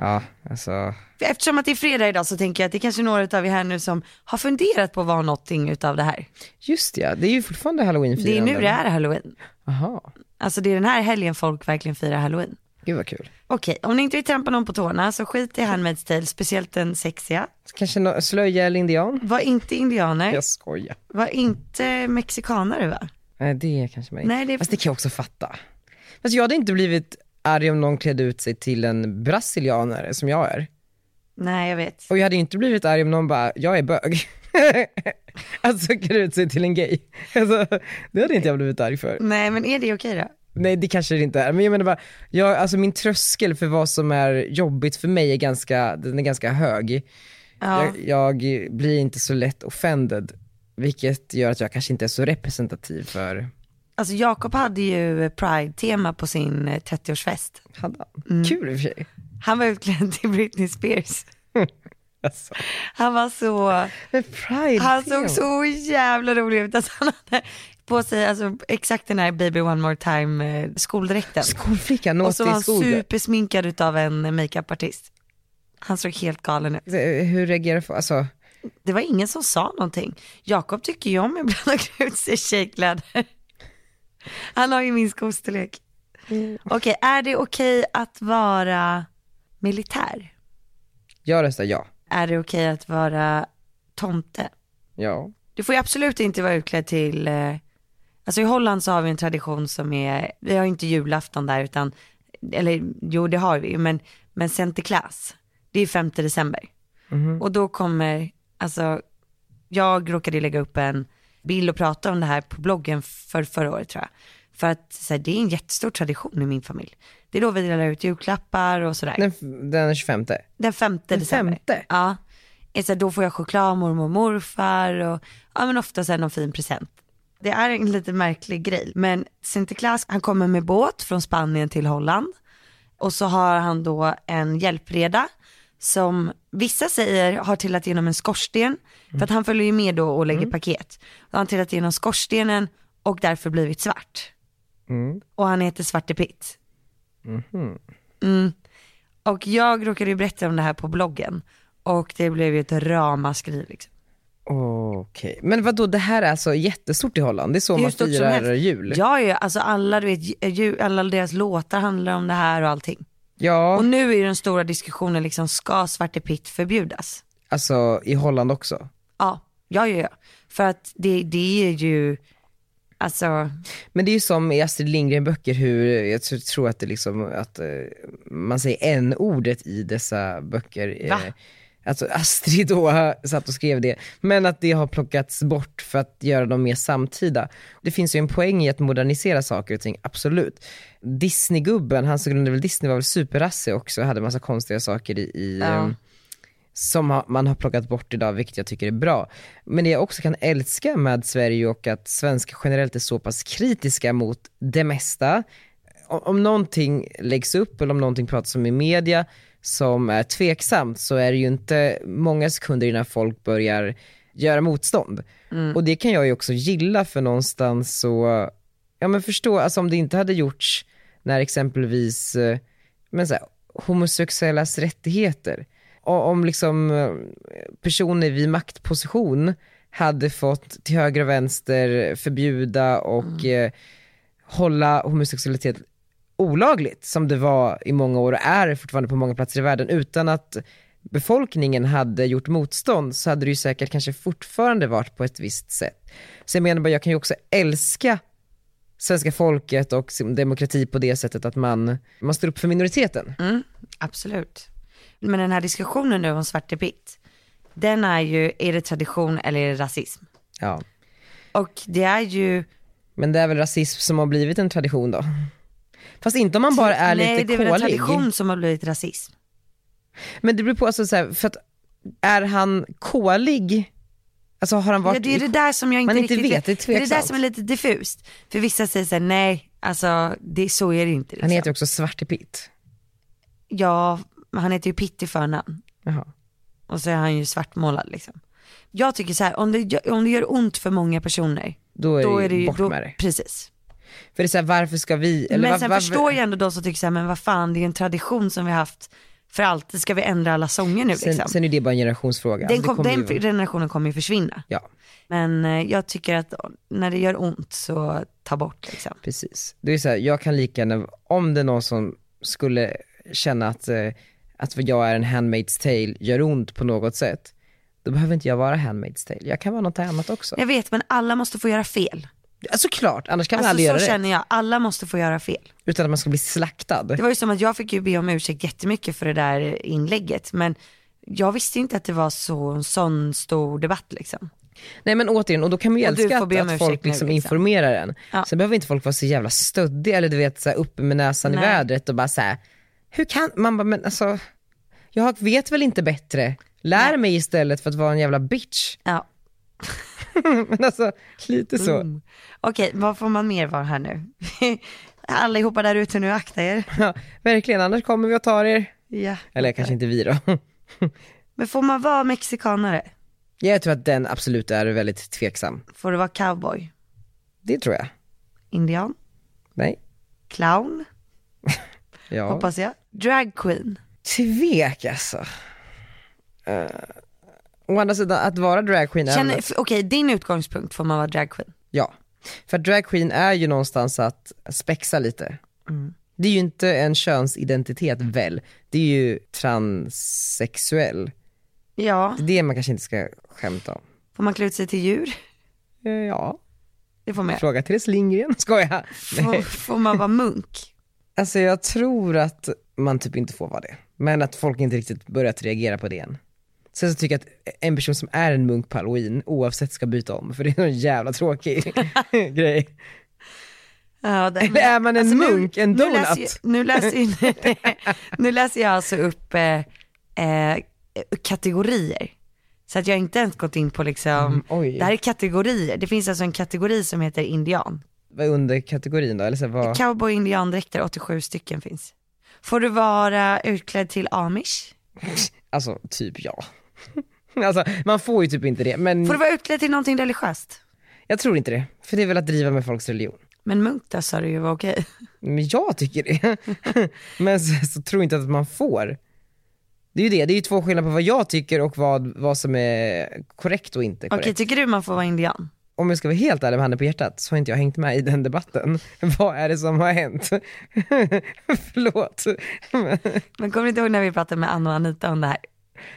A: ja alltså,
B: Eftersom att det är fredag idag så tänker jag att det är kanske några av er här nu som har funderat på vad någonting utav det här.
A: just det, ja, det är ju fortfarande
B: Det är
A: halloweenfirande.
B: nu det är halloween.
A: Aha.
B: Alltså det är den här helgen folk verkligen firar halloween.
A: gud vad kul.
B: Okej, om ni inte vill trampa någon på tårna så skit i Handmaid's Tale, speciellt den sexiga.
A: Kanske nå slöja eller indian?
B: Var inte indianer,
A: Jag skojar.
B: var inte mexikanare va?
A: Nej det kanske man inte.
B: Nej, det-
A: Fast det kan jag också fatta. Fast jag hade inte blivit arg om någon klädde ut sig till en brasilianare som jag är.
B: Nej jag vet.
A: Och jag hade inte blivit arg om någon bara, jag är bög. alltså klä ut sig till en gay. Alltså, det hade inte jag blivit arg för.
B: Nej men är det okej då?
A: Nej det kanske det inte är, men jag menar bara, jag, alltså min tröskel för vad som är jobbigt för mig är ganska, den är ganska hög.
B: Ja.
A: Jag, jag blir inte så lätt offended, vilket gör att jag kanske inte är så representativ för,
B: Alltså Jakob hade ju pride-tema på sin eh, 30-årsfest.
A: hade han? Kul i och för sig.
B: Han var utklädd till Britney Spears.
A: Alltså.
B: Han var så,
A: Men pride
B: han såg så jävla rolig ut. Alltså, han hade på sig alltså, exakt den här baby one more time eh, skoldräkten.
A: Skolflicka, nåt
B: Och så var
A: i
B: han
A: skogen.
B: supersminkad utav en makeupartist. Han såg helt galen ut.
A: Eh, Hur reagerar folk? Alltså,
B: Det var ingen som sa någonting. Jakob tycker ju om ibland att klä ut sig i tjejkläder. Han har ju min skostorlek. Okej, är det okej att vara militär?
A: jag röstar ja.
B: Är det okej att vara tomte?
A: Ja.
B: Du får ju absolut inte vara utklädd till, eh, alltså i Holland så har vi en tradition som är, vi har ju inte julafton där utan, eller jo det har vi ju, men, men Sinterklaas, det är 5 december. Och då kommer, alltså jag råkade ju lägga upp en bild och prata om det här på bloggen för förra året tror jag. För att så här, det är en jättestor tradition i min familj. Det är då vi delar ut julklappar och sådär.
A: Den, den 25.
B: Den femte december.
A: femte?
B: Ja. Eh, Så här, då får jag choklad av mormor och morfar och ja, men ofta så här, någon fin present. Det är en lite märklig grej. Men Sinterklaas han kommer med båt från Spanien till Holland. Och så har han då en hjälpreda som vissa säger har trillat genom en skorsten. För att han följer ju med då och lägger paket. Och han har trillat genom skorstenen och därför blivit svart.
A: Mm.
B: Och han heter Svarte Pitt. Mm. Och jag råkade ju berätta om det här på bloggen. Och det blev ju ett ramaskri liksom.
A: Okej. Men vadå, det här är alltså jättestort i Holland? Det är så
B: Det är
A: man
B: ju stort som
A: firar
B: helst.
A: jul?
B: Ja, ja, alltså alla, du vet, ju, alla deras låtar handlar om det här och allting.
A: Ja,
B: Och nu är ju den stora diskussionen liksom, ska Svarte Pitt förbjudas?
A: alltså i Holland också.
B: Ja, ja, ja, ja. För att det, det är ju, alltså,
A: Men det är ju som i Astrid Lindgren böcker hur, jag tr- tror att det liksom, att eh, man säger n-ordet i dessa böcker. Eh,
B: Va?
A: Alltså Astrid då har satt och skrev det, men att det har plockats bort för att göra dem mer samtida. Det finns ju en poäng i att modernisera saker och ting, absolut. Disneygubben, han som grundade väl Disney var väl superrassig också, hade massa konstiga saker i, i
B: Ja.
A: eh, som har- man har plockat bort idag, vilket jag tycker är bra. Men det jag också kan älska med Sverige och att svenskar generellt är så pass kritiska mot det mesta. O- Om någonting läggs upp eller om någonting pratas om i media som är tveksamt så är det ju inte många sekunder innan folk börjar göra motstånd. Och det kan jag ju också gilla för någonstans så, ja men förstå, alltså om det inte hade gjorts när exempelvis, eh, men så här, homosexuellas rättigheter. Och om liksom eh, personer vid maktposition hade fått till höger och vänster förbjuda och eh, hålla homosexualitet olagligt som det var i många år och är fortfarande på många platser i världen utan att befolkningen hade gjort motstånd så hade det ju säkert kanske fortfarande varit på ett visst sätt. Så jag menar bara, jag kan ju också älska svenska folket och sin demokrati på det sättet att man, man står upp för minoriteten.
B: Mm, absolut. Men den här diskussionen nu om Svarte Pitt, den är ju, är det tradition eller är det rasism?
A: Ja.
B: Och det är ju,
A: Men det är väl rasism som har blivit en tradition då? Fast inte om man bara är
B: typ- nej det
A: lite
B: är väl en
A: kolig.
B: tradition som har blivit rasism.
A: Men det beror på, alltså, så här, för att är han kolig, alltså har han varit
B: Ja, det är det där som jag inte,
A: Man inte
B: riktigt
A: vet, det är
B: det är det där
A: tveksamt.
B: som är lite diffust. För vissa säger såhär, nej, alltså det, så är det inte. Liksom.
A: Han heter ju också Svarte Pitt.
B: Ja, men han heter ju Pitt i förnamn.
A: Jaha.
B: Och så är han ju svartmålad liksom. Jag tycker så här, om det, gö- om det gör ont för många personer,
A: Då är,
B: då
A: det,
B: är det ju,
A: bort
B: då,
A: med det.
B: precis.
A: För det är så här, varför ska vi, eller
B: men
A: var-
B: sen
A: varför-
B: förstår jag ändå de som tycker så här, men vad fan det är en tradition som vi har haft för alltid, ska vi ändra alla sånger nu liksom?
A: sen, sen är det bara en generationsfråga.
B: den,
A: Alltså,
B: kom,
A: det
B: den
A: kommer ju-
B: generationen kommer ju försvinna.
A: Ja,
B: Men eh, jag tycker att när det gör ont så ta bort liksom.
A: precis. Det är så här, jag kan lika gärna, om det är någon som skulle känna att, eh, att vad jag är en handmaid's tale gör ont på något sätt, då behöver inte jag vara handmaid's tale. Jag kan vara något annat också.
B: Jag vet men alla måste få göra fel.
A: Ja, Såklart, annars kan man
B: Alltså
A: aldrig göra
B: så
A: det.
B: känner jag, alla måste få göra fel.
A: Utan att man ska bli slaktad.
B: Det var ju som att jag fick ju be om ursäkt jättemycket för det där inlägget men jag visste inte att det var så, en sån stor debatt liksom.
A: Nej men återigen, och då kan man ju
B: Och du
A: älska
B: får
A: att,
B: be om
A: att
B: ursäkt
A: folk
B: nu,
A: liksom
B: liksom.
A: informerar en.
B: Ja.
A: Sen behöver inte folk vara så jävla stöddiga eller du vet så här, uppe med näsan
B: Nej.
A: i vädret och bara så här, hur kan, man bara, men alltså, jag vet väl inte bättre. Lär mig istället för att vara en jävla bitch.
B: Ja.
A: men alltså lite så.
B: Mm. Okej, vad får man mer vara här nu? Allihopa där ute nu, akta er.
A: Ja, verkligen, annars kommer vi och tar er.
B: Ja.
A: Eller kanske inte vi då.
B: Men får man vara mexikanare?
A: jag tror att den absolut är väldigt tveksam.
B: Får du vara cowboy?
A: Det tror jag.
B: Indian?
A: Nej.
B: Clown?
A: Ja.
B: Hoppas jag. Drag queen?
A: Tvek alltså. Eh, å andra sidan, att vara dragqueen är
B: Känner-
A: väl-
B: f- Okej, din utgångspunkt får man vara drag queen.
A: Ja, för att drag queen är ju någonstans att spexa lite.
B: Mm.
A: Det är ju inte en könsidentitet väl, det är ju transsexuell.
B: Ja.
A: Det är det man kanske inte ska skämta om.
B: Får man klä ut sig till djur?
A: Eh, Ja,
B: Det får man göra.
A: fråga Therese Lindgren. Skoja.
B: Får, får man vara munk?
A: Alltså jag tror att man typ inte får vara det. Men att folk inte riktigt börjat reagera på det än. Sen så tycker jag att en person som är en munk på halloween oavsett ska byta om, för det är en jävla tråkig grej.
B: Ja, det, alltså,
A: Eller är man en munk, en
B: Nu läser,
A: donut?
B: jag- nu, läser, jag- nu läser jag alltså upp eh, eh, kategorier. Så att jag inte ens gått in på liksom,
A: Mm, oj.
B: det här är kategorier. Det finns alltså en kategori som heter indian.
A: Vad är underkategorin då? Eller så här, vad...
B: Cowboy indiandräkter, 87 stycken finns. Får du vara utklädd till amish?
A: Alltså typ ja. Alltså man får ju typ inte det, men
B: Får du vara utklädd till någonting religiöst?
A: jag tror inte det. För det är väl att driva med folks religion.
B: Men munk där sa du ju var okej.
A: Men jag tycker det. men så, så tror inte att man får. Det är ju det, det är ju två skillnader på vad jag tycker och vad, vad som är korrekt och inte
B: Okej,
A: korrekt.
B: tycker du man får vara indian?
A: Om jag ska vara helt ärlig med handen på hjärtat så har inte jag hängt med i den debatten. Vad är det som har hänt? Förlåt.
B: Men kommer du inte ihåg när vi pratade med Anna och Anita om det här?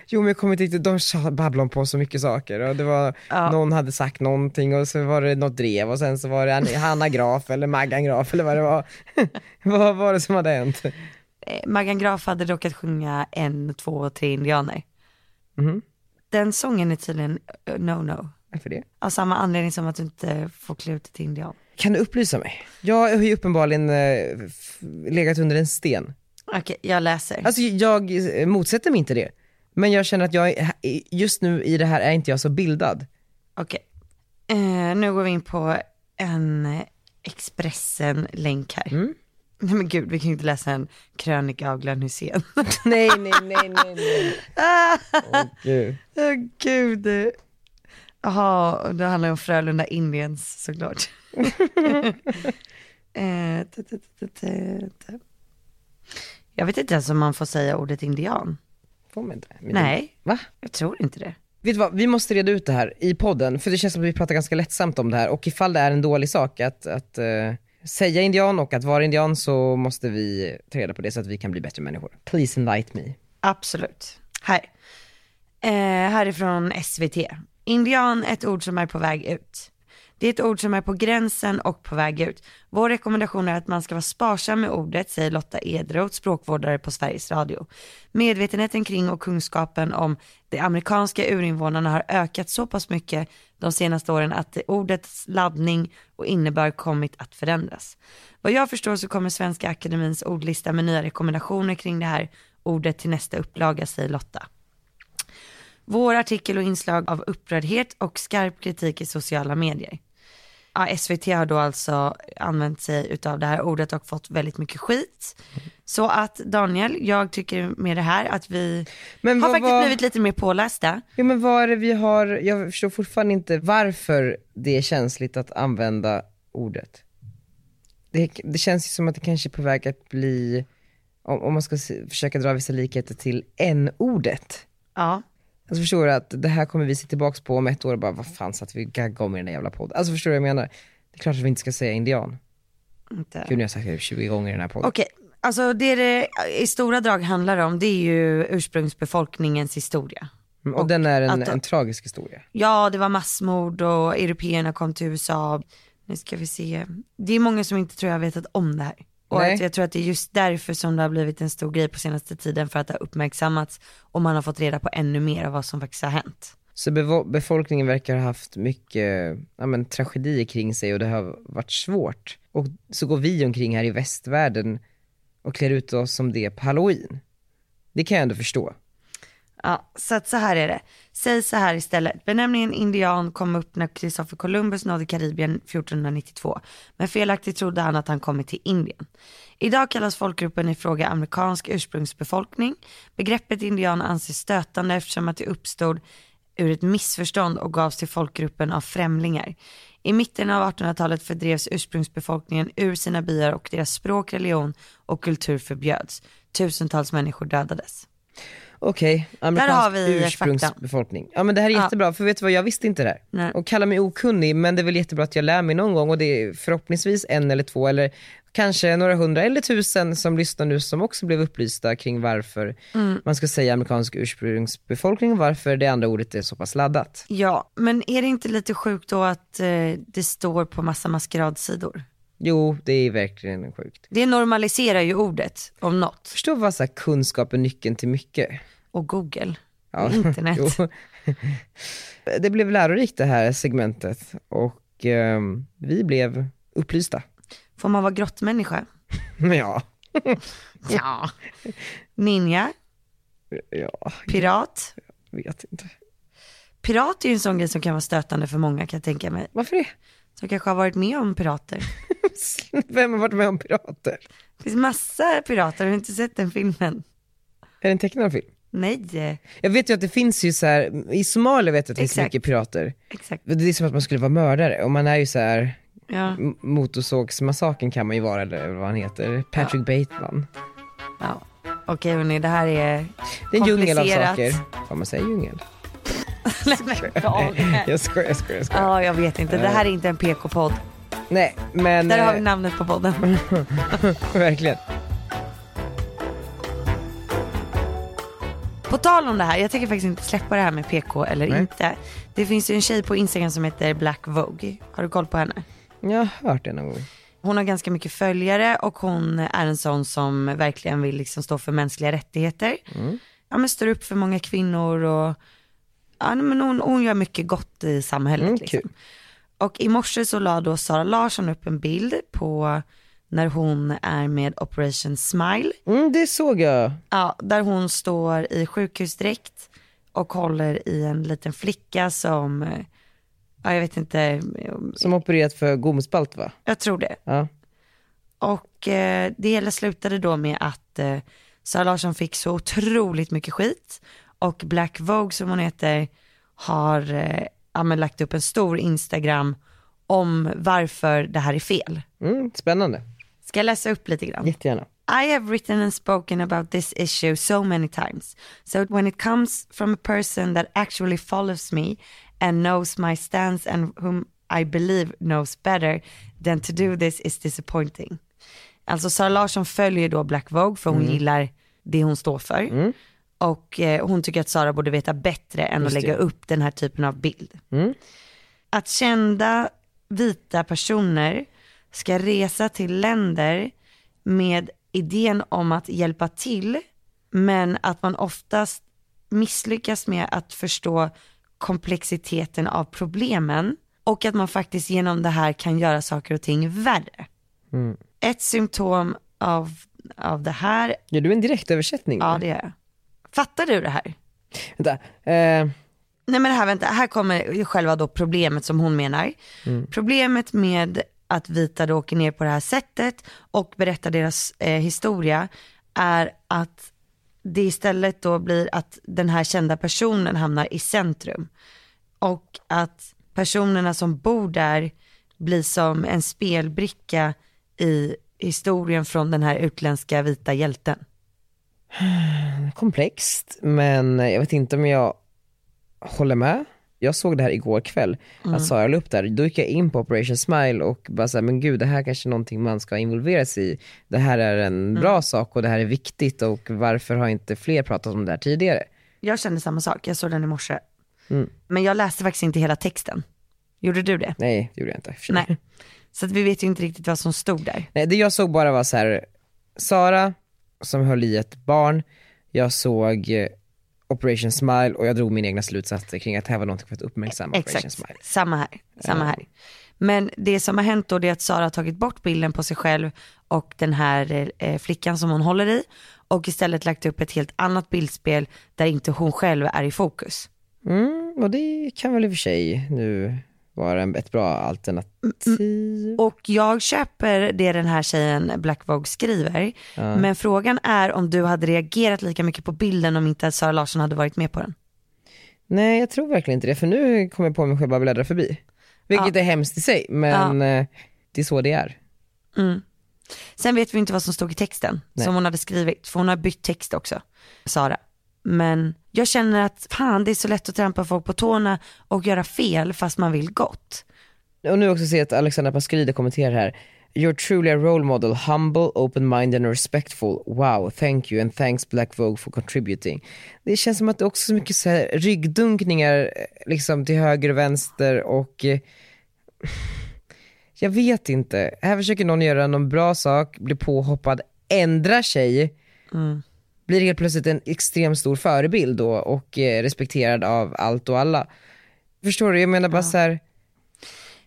A: Jo men jag kommer inte riktigt, de tja- babblade på så mycket saker och det var, någon hade sagt någonting och så var det något drev och sen så var det Ann- Hanna Graf eller Maggan Graf eller vad det var. vad var det som hade hänt?
B: eh, Maggan Graf hade råkat sjunga en, två, tre indianer. Den sången är tydligen eh, no-no.
A: Varför det?
B: Av samma anledning som att du inte får klä ut dig till indian.
A: Kan du upplysa mig? Jag har ju uppenbarligen eh, f- legat under en sten.
B: Okej, jag läser.
A: Alltså jag eh, motsätter mig inte det. Men jag känner att jag, är- just nu i det här är inte jag så bildad.
B: Okej. Eh, nu går vi in på en eh, Expressen-länk här. Nej men gud, vi kan ju inte läsa en krönika av Glenn Ah! Hysén.
A: nej, nej, nej, nej, nej. Åh, gud.
B: Åh gud. Jaha, det handlar ju om Frölunda Indians såklart. Eh, t- t- t- t- t- Jag vet inte ens om man får säga ordet indian.
A: Får man inte? Men-
B: Nej,
A: Va?
B: jag tror inte det.
A: Vet du vad, vi måste reda ut det här i podden, för det känns som att vi pratar ganska lättsamt om det här och ifall det är en dålig sak att, att eh, säga indian och att vara indian så måste vi ta reda på det så att vi kan bli bättre människor. Please invite me.
B: Absolut. Här. Eh, härifrån SVT. Indian, ett ord som är på väg ut. Det är ett ord som är på gränsen och på väg ut. Vår rekommendation är att man ska vara sparsam med ordet, säger Lotta Edroth, språkvårdare på Sveriges Radio. Medvetenheten kring och kunskapen om de amerikanska urinvånarna har ökat så pass mycket de senaste åren att ordets laddning och innebörd kommit att förändras. Vad jag förstår så kommer Svenska Akademins ordlista med nya rekommendationer kring det här ordet till nästa upplaga, säger Lotta. Vår artikel och inslag av upprördhet och skarp kritik i sociala medier. Ja, SVT har då alltså använt sig utav det här ordet och fått väldigt mycket skit. Så att Daniel, jag tycker med det här att vi
A: Men
B: har
A: vad
B: faktiskt
A: var-
B: blivit lite mer pålästa.
A: Ja men vad är det vi har, jag förstår fortfarande inte varför det är känsligt att använda ordet. Det, det känns ju som att det kanske är på väg att bli, om, om man ska se, försöka dra vissa likheter till n-ordet.
B: Ja,
A: Alltså förstår du att det här kommer vi se tillbaks på om ett år och bara, vad fan satt vi och gaggade om i den där jävla podden? Alltså förstår du vad jag menar? Det är klart att vi inte ska säga indian.
B: inte.
A: Gud nu har jag sagt det 20 gånger i den här podden.
B: Okej, alltså det det i stora drag handlar om det är ju ursprungsbefolkningens historia.
A: Mm, och, den är en,
B: att-
A: en tragisk historia.
B: Ja, det var massmord och européerna kom till USA. Nu ska vi se. Det är många som inte tror jag vetat om det här. Och
A: Nej.
B: att jag tror att det är just därför som det har blivit en stor grej på senaste tiden för att det har uppmärksammats och man har fått reda på ännu mer av vad som faktiskt har hänt.
A: Så bevo- befolkningen verkar ha haft mycket ja, men, tragedier kring sig och det har varit svårt. Och så går vi omkring här i västvärlden och klär ut oss som det på halloween. Det kan jag ändå förstå.
B: Ja, så att så här är det. Säg så här istället. Benämningen indian kom upp när Christopher Columbus nådde Karibien 1492. Men felaktigt trodde han att han kommit till Indien. Idag kallas folkgruppen i fråga amerikansk ursprungsbefolkning. Begreppet indian anses stötande eftersom att det uppstod ur ett missförstånd och gavs till folkgruppen av främlingar. I mitten av 1800-talet fördrevs ursprungsbefolkningen ur sina byar och deras språk, religion och kultur förbjöds. Tusentals människor dödades.
A: Okej,
B: har
A: amerikansk
B: vi
A: ursprungsbefolkning. Ja men det här är
B: Ja.
A: jättebra, för vet du vad, jag visste inte det här.
B: Nej.
A: Och kalla mig okunnig, men det är väl jättebra att jag lär mig någon gång och det är förhoppningsvis en eller två eller kanske några hundra eller tusen som lyssnar nu som också blev upplysta kring varför
B: Mm.
A: man ska säga amerikansk ursprungsbefolkning och varför det andra ordet är så pass laddat.
B: Ja, men är det inte lite sjukt då att eh, det står på massa maskeradsidor?
A: Jo, det är verkligen sjukt.
B: Det normaliserar ju ordet om något.
A: Förstå vad så här, kunskap är nyckeln till mycket.
B: Och Google.
A: Ja,
B: Och internet.
A: jo. det blev lärorikt det här segmentet och ehm, vi blev upplysta.
B: Får man vara grottmänniska?
A: Ja.
B: Ja. Ninja,
A: Ja,
B: pirat.
A: jag vet inte.
B: Pirat är ju en sån grej som kan vara stötande för många kan jag tänka mig.
A: Varför det?
B: Som kanske har varit med om pirater.
A: Vem har varit med om pirater?
B: Det finns massa pirater, har du inte sett den filmen?
A: Är det en tecknad film?
B: Nej, eh,
A: Jag vet ju att det finns ju så här, i Somalia vet jag att det finns
B: Exakt.
A: mycket pirater.
B: exakt.
A: Det är som att man skulle vara mördare och man är ju så här
B: Ja,
A: m- motorsågsmassakern kan man ju vara eller vad han heter, Patrick Bateman.
B: ja. Okej hörni, det här är
A: Det är en djungel av
B: komplicerat.
A: saker. Vad man säger djungel?
B: Nej, men Daniel.
A: Jag skojar, jag skojar, jag skojar.
B: Ja, jag vet inte. Det här är inte en PK-podd.
A: Nej men,
B: Där har vi
A: eh,
B: namnet på podden.
A: verkligen.
B: På tal om det här, jag tänker faktiskt inte släppa det här med PK eller
A: Nej.
B: inte. Det finns ju en tjej på Instagram som heter Black Vogue. Har du koll på henne?
A: Jag har hört det någon gång.
B: Hon har ganska mycket följare och hon är en sån som verkligen vill liksom stå för mänskliga rättigheter.
A: Mm.
B: Ja men står upp för många kvinnor och ja, nej, men hon, hon gör mycket gott i samhället.
A: Mm,
B: liksom.
A: kul.
B: Och i morse så la då Sara Larsson upp en bild på när hon är med Operation Smile.
A: Mm, det såg jag.
B: Ja, där hon står i sjukhusdräkt och håller i en liten flicka som, eh, ja jag vet inte, eh,
A: Som opererat för gomspalt va?
B: jag tror det.
A: Ja.
B: Och eh, det hela slutade då med att eh, Sara Larsson fick så otroligt mycket skit och Black Vogue som hon heter har eh, ja, men lagt upp en stor Instagram om varför det här är fel.
A: Mm, spännande.
B: Ska jag läsa upp lite grann?
A: Jättegärna.
B: I have written and spoken about this issue so many times. So when it comes from a person that actually follows me and knows my stance and whom I believe knows better, then to do this is disappointing. Alltså Sara Larsson följer då Black Vogue för hon gillar det hon står för. Och eh, hon tycker att Sara borde veta bättre än att lägga upp den här typen av bild att kända vita personer ska resa till länder med idén om att hjälpa till, men att man oftast misslyckas med att förstå komplexiteten av problemen och att man faktiskt genom det här kan göra saker och ting värre. Ett symptom av, av det här,
A: Gör du en direktöversättning?
B: ja det är Fattar du det här?
A: Vänta. Eh,
B: Nej men det här, vänta, här kommer ju själva då problemet som hon menar. Problemet med att vita då åker ner på det här sättet och berättar deras eh, historia är att det istället då blir att den här kända personen hamnar i centrum. Och att personerna som bor där blir som en spelbricka i historien från den här utländska vita hjälten.
A: komplext, men jag vet inte om jag håller med. Jag såg det här igår kväll,
B: Mm.
A: att Sara la upp där. Då gick jag in på Operation Smile och bara såhär, men gud det här kanske är någonting man ska involvera sig i. Det här är
B: Mm.
A: en bra sak och det här är viktigt och varför har inte fler pratat om det här tidigare?
B: Jag kände samma sak, jag såg den i morse. Men jag läste faktiskt inte hela texten. Gjorde du det?
A: Nej, det gjorde jag inte. i och för sig.
B: Nej. Så att vi vet ju inte riktigt vad som stod där.
A: Nej, det jag såg bara var så här Sara som höll i ett barn, jag såg eh, Operation Smile och jag drog mina egna slutsatser kring att det här var någonting för att uppmärksamma Operation
B: Exakt,
A: Smile.
B: samma här. Samma här. Men det som har hänt då det är att Sara har tagit bort bilden på sig själv och den här eh, flickan som hon håller i och istället lagt upp ett helt annat bildspel där inte hon själv är i fokus.
A: Mm, och det kan väl i och för sig nu vara en- ett bra alternativ.
B: Och jag köper det den här tjejen Black Vogue skriver. Men frågan är om du hade reagerat lika mycket på bilden om inte Sara Larsson hade varit med på den.
A: Nej jag tror verkligen inte det för nu kommer jag på mig själv bara bläddra förbi. Vilket är hemskt i sig men eh, det är så det är.
B: Sen vet vi inte vad som stod i texten som hon hade skrivit, för hon har bytt text också, Sara. Men jag känner att fan det är så lätt att trampa folk på tårna och göra fel fast man vill gott.
A: Och nu också se att Alexandra Pascalidou kommenterar här. You're truly a role model, humble, open-minded and respectful. Wow, thank you and thanks Black Vogue for contributing. Det känns som att det är också så mycket så här ryggdunkningar eh, liksom till höger och vänster och eh, jag vet inte. Här försöker någon göra någon bra sak, blir påhoppad, ändrar sig, blir helt plötsligt en extremt stor förebild då och eh, respekterad av allt och alla. Förstår du? Jag menar bara så här,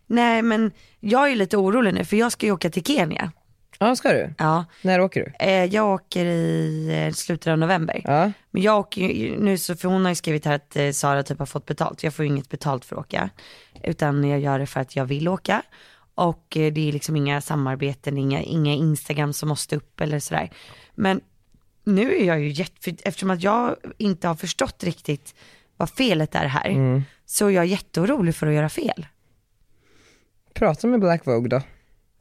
B: Nej men jag är lite orolig nu för jag ska ju åka till Kenya.
A: ja ska du?
B: Ja,
A: När åker du?
B: eh, jag åker i eh, slutet av november.
A: Ja.
B: Men jag åker ju nu, så, för hon har ju skrivit här att eh, Sara typ har fått betalt. Jag får ju inget betalt för att åka. Utan jag gör det för att jag vill åka. Och eh, det är liksom inga samarbeten, inga, inga Instagram som måste upp eller sådär. Men nu är jag ju jätte, för- eftersom att jag inte har förstått riktigt vad felet är här. Så är jag jätteorolig för att göra fel.
A: Prata med Black Vogue då.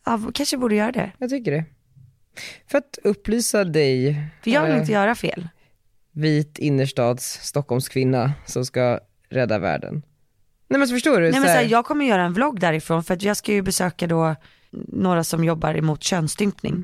B: Ja, kanske borde göra det.
A: Jag tycker det. För att upplysa dig,
B: För jag vill
A: eh,
B: inte göra fel.
A: vit innerstads Stockholmskvinna som ska rädda världen. Nej men så förstår du?
B: Nej
A: så
B: men så
A: här-
B: här, jag kommer göra en vlogg därifrån för att jag ska ju besöka då några som jobbar emot könsstympning.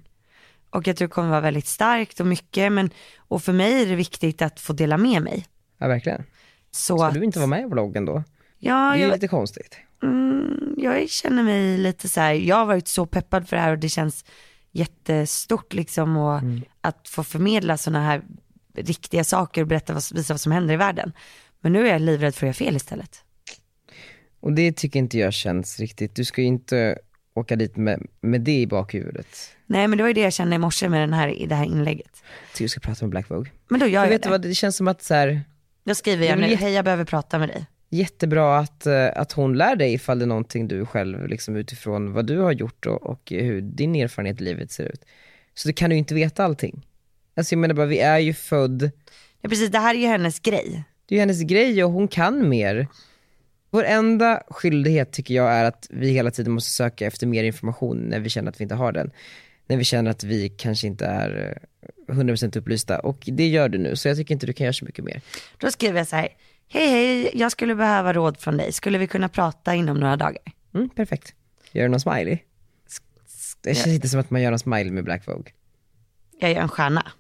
B: Och jag tror det kommer vara väldigt starkt och mycket men, och för mig är det viktigt att få dela med mig.
A: Ja verkligen.
B: Så
A: Ska
B: att,
A: du inte vara med i vloggen då? Det
B: ja,
A: är ju
B: jag,
A: lite konstigt.
B: mm, jag känner mig lite så här, jag har varit så peppad för det här och det känns jättestort liksom och
A: Mm.
B: att få förmedla sådana här riktiga saker och berätta vad, visa vad som händer i världen. Men nu är jag livrädd för att göra fel istället.
A: Och det tycker inte jag känns riktigt. Du ska ju inte åka dit med, med det i bakhuvudet.
B: Nej men det var ju det jag kände i morse med den här, i det här inlägget.
A: Jag tycker du ska prata med Black Vogue.
B: Men då gör jag,
A: Jag vet
B: det.
A: du vad, det känns som att så här,
B: Då skriver jag
A: Det är
B: nu,
A: väl jätte-
B: hej jag behöver prata med dig.
A: jättebra att, eh, att hon lär dig ifall det är någonting du själv, liksom utifrån vad du har gjort och, och hur din erfarenhet i livet ser ut. Så du kan du ju inte veta allting. Alltså jag menar bara, vi är ju född,
B: Ja, precis, det här är ju hennes grej.
A: det är ju hennes grej och hon kan mer. Vår enda skyldighet tycker jag är att vi hela tiden måste söka efter mer information när vi känner att vi inte har den. När vi känner att vi kanske inte är eh, 100% upplysta. Och det gör du nu, så jag tycker inte du kan göra så mycket mer.
B: Då skriver jag så här, hej hej, jag skulle behöva råd från dig, skulle vi kunna prata inom några dagar?
A: Mm, perfekt. Gör du någon smiley? Det känns inte som att man gör någon smiley med Black Vogue.
B: Jag gör en stjärna.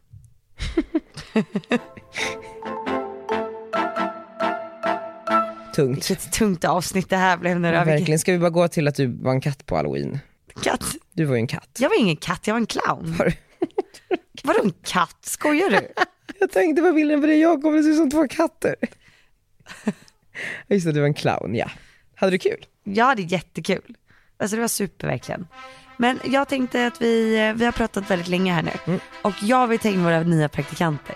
A: Tungt.
B: Vilket tungt avsnitt det här blev nu då. Vilken
A: Verkligen. Ska vi bara gå till att du var en katt på halloween?
B: katt.
A: Du var ju en katt.
B: Jag var ingen katt, jag var en clown.
A: Var du?
B: Vadå en katt? Skojar du?
A: Jag tänkte på bilden på dig jag kommer det se ut som två katter. Just det, du var en clown, ja. Hade du kul?
B: Jag hade jättekul. Alltså det var super verkligen. Men jag tänkte att vi, vi har pratat väldigt länge här nu.
A: Mm.
B: Och jag vill ta in våra nya praktikanter.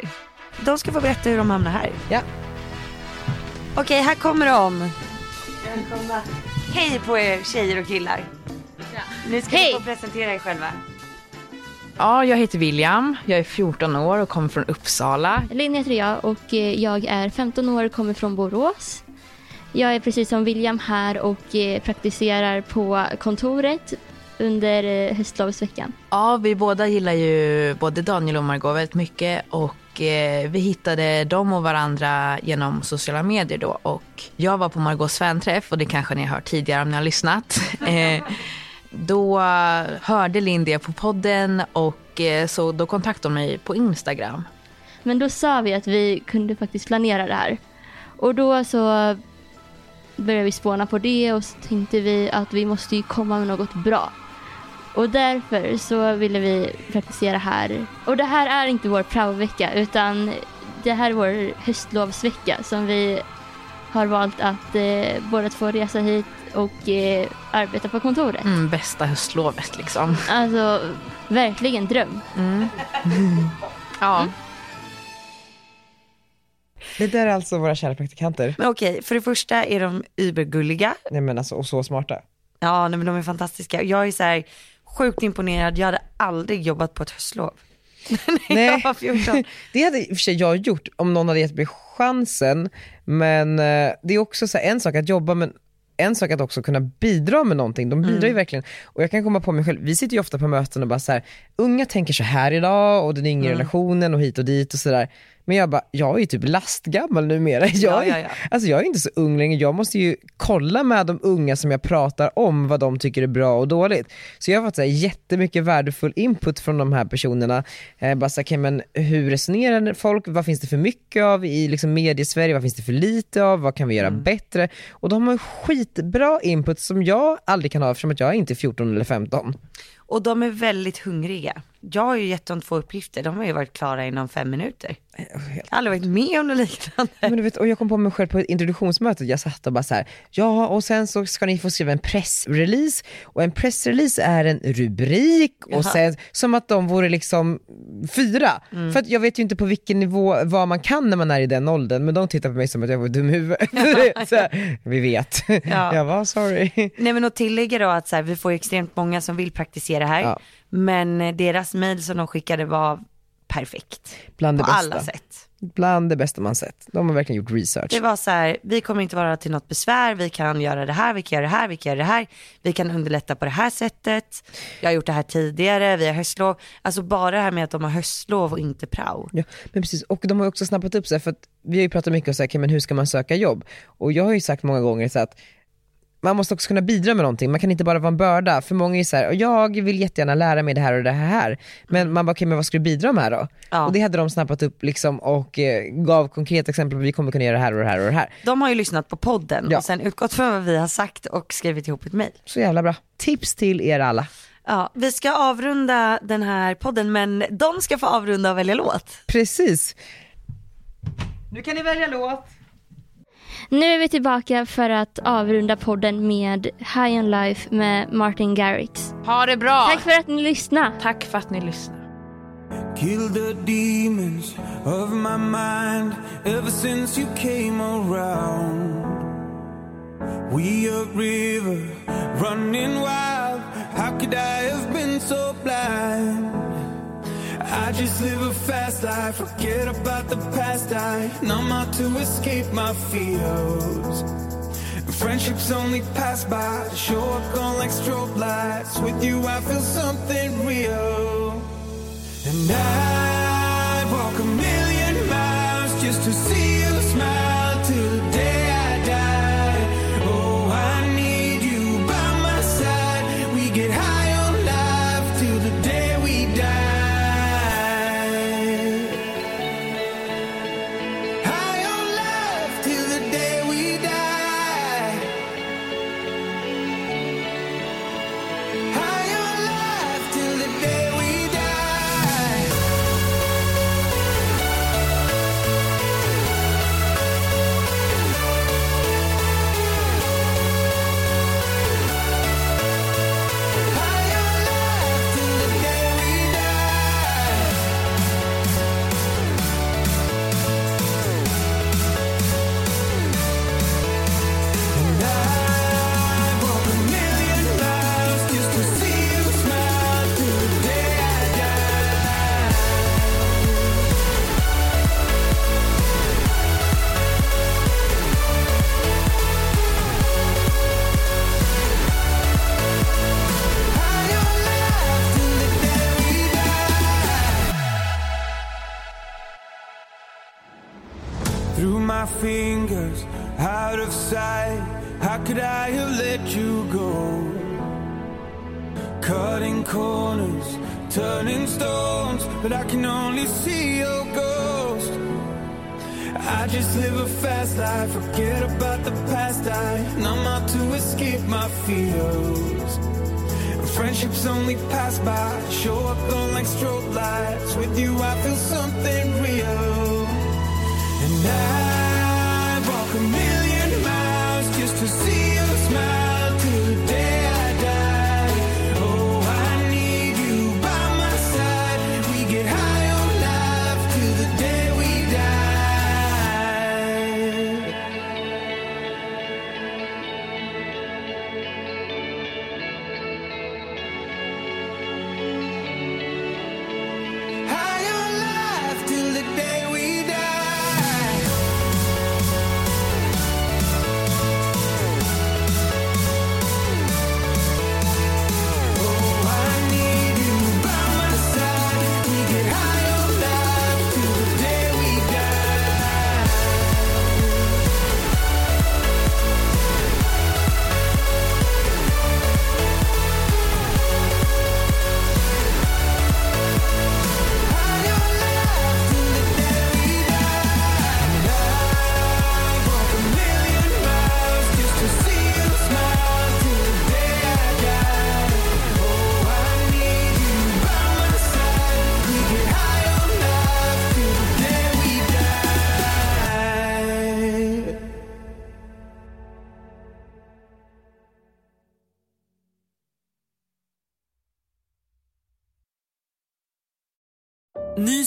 B: De ska få berätta hur de hamnar här.
A: Ja.
B: Okej, här kommer de. Välkomna. Hej på er tjejer och killar. Nu ska
C: Hej.
B: ni få presentera er själva.
D: Ja, jag heter William. Jag är 14 år och kommer från Uppsala.
C: Linn heter jag och eh, jag är 15 år och kommer från Borås. Jag är precis som William här och eh, praktiserar på kontoret under eh, höstlovsveckan.
D: Ja, vi båda gillar ju både Daniel och Margot väldigt mycket och eh, vi hittade dem och varandra genom sociala medier då och jag var på Margots fanträff och det kanske ni har hört tidigare om ni har lyssnat. Eh, då hörde Linn det på podden och eh, så då kontaktade hon mig på Instagram.
C: Men då sa vi att vi kunde faktiskt planera det här. Och då så började vi spåna på det och så tänkte vi att vi måste ju komma med något bra. Och därför så ville vi praktisera här. Och det här är inte vår praovecka utan det här är vår höstlovsvecka som vi har valt att eh, båda två resa hit och eh, arbeta på kontoret.
D: Mm, bästa höstlovet liksom.
C: Alltså, verkligen dröm.
D: Ja.
A: Det där är alltså våra kära praktikanter.
B: Men okej, för det första är de übergulliga.
A: Nej men alltså, och så smarta.
B: Ja, nej, men de är fantastiska. Jag är så här sjukt imponerad. Jag hade aldrig jobbat på ett höstlov. När
A: Nej.
B: jag var 14.
A: Det hade i och för sig jag gjort om någon hade gett mig chansen. Men eh, det är också så här, en sak att jobba men en sak att också kunna bidra med någonting. De bidrar
B: Mm.
A: ju verkligen. Och jag kan komma på mig själv, vi sitter ju ofta på möten och bara så här, unga tänker så här idag och den yngre
B: Mm.
A: relationen och hit och dit och sådär. Men jag bara, jag är ju typ lastgammal numera. Jag är,
B: ja, ja.
A: Alltså jag är inte så ung längre, jag måste ju kolla med de unga som jag pratar om vad de tycker är bra och dåligt. Så jag har fått så här jättemycket värdefull input från de här personerna. Eh, bara så här, okej, men hur resonerar folk, vad finns det för mycket av i liksom mediesverige, vad finns det för lite av, vad kan vi göra bättre? Och de har skitbra input som jag aldrig kan ha eftersom att jag inte är 14 eller 15.
B: Och de är väldigt hungriga. Jag har ju gett dem två uppgifter. De har ju varit klara inom fem minuter. Jag har aldrig varit med om något liknande.
A: Men du vet, och jag kom på mig själv på introduktionsmötet, jag satt och bara så här, ja och sen så ska ni få skriva en pressrelease och en pressrelease är en rubrik och sen som att de vore liksom fyra.
B: Mm.
A: För att jag vet ju inte på vilken nivå, vad man kan när man är i den åldern men de tittar på mig som att jag var dum i huvudet. så här, vi vet.
B: Ja.
A: Jag var sorry.
B: Nej men att tillägga då att så här, vi får ju extremt många som vill praktisera här.
A: Ja.
B: Men eh, deras mail som de skickade var perfekt.
A: Bland det
B: På alla
A: bästa.
B: sätt.
A: Bland det bästa man sett. De har verkligen gjort research.
B: Det var så här, vi kommer inte vara till något besvär, vi kan göra det här, vi kan göra det här, vi kan göra det här, vi kan underlätta på det här sättet, jag har gjort det här tidigare, vi har höstlov. Alltså bara det här med att de har höstlov och inte prao.
A: Ja, men precis. Och de har ju också snappat upp så här, för att vi har ju pratat mycket om så här, okej, men hur ska man söka jobb? Och jag har ju sagt många gånger så att man måste också kunna bidra med någonting, man kan inte bara vara en börda. För många är ju så här, "Och jag vill jättegärna lära mig det här och det här. Men man bara, okej men vad ska du bidra med då?
B: Ja.
A: Och det hade de snappat upp liksom och eh, gav konkreta exempel på vi kommer kunna göra det här och det här och det här.
B: De har ju lyssnat på podden
A: Ja.
B: och sen utgått från vad vi har sagt och skrivit ihop ett mejl.
A: Så jävla bra. Tips till er alla.
B: Ja, vi ska avrunda den här podden men de ska få avrunda och välja låt.
A: Precis.
C: Nu är vi tillbaka för att avrunda podden med High on Life med Martin Garrix.
D: Ha det bra!
C: Tack för att ni lyssnade.
D: Tack för att ni lyssnar.
E: Kill the demons of my mind ever since you came around. We a river running wild. How could I have been so blind? I just live a fast life, forget about the past. I numb out to escape my fears. Friendships only pass by, to show up gone like strobe lights. With you, I feel something real. And I'd walk a million miles just to see you smile till the day I die. Oh, I need you by my side. We get high on life till the day we die. High on life till the day we die. High on life till the day we die. High on life till the day we die. Through my fingers, out of sight, how could I have let you go? Cutting corners, turning stones, but I can only see your ghost. I just live a fast life, forget about the past. I numb out to escape my fears. Friendships only pass by, show up on like strobe lights. With you, I feel something real. And I'd walk a million miles just to see you smile till the day I die. Oh, I need you by my side. We get high on life till the day we die. High on life till the day we die. Oh, I need you by my side. We get high on life till the day we die. High on life till the day we die. walk a million miles just to see you smile till the day I die. Oh, I need you by my side. We get high on life till the day we die.
F: Ny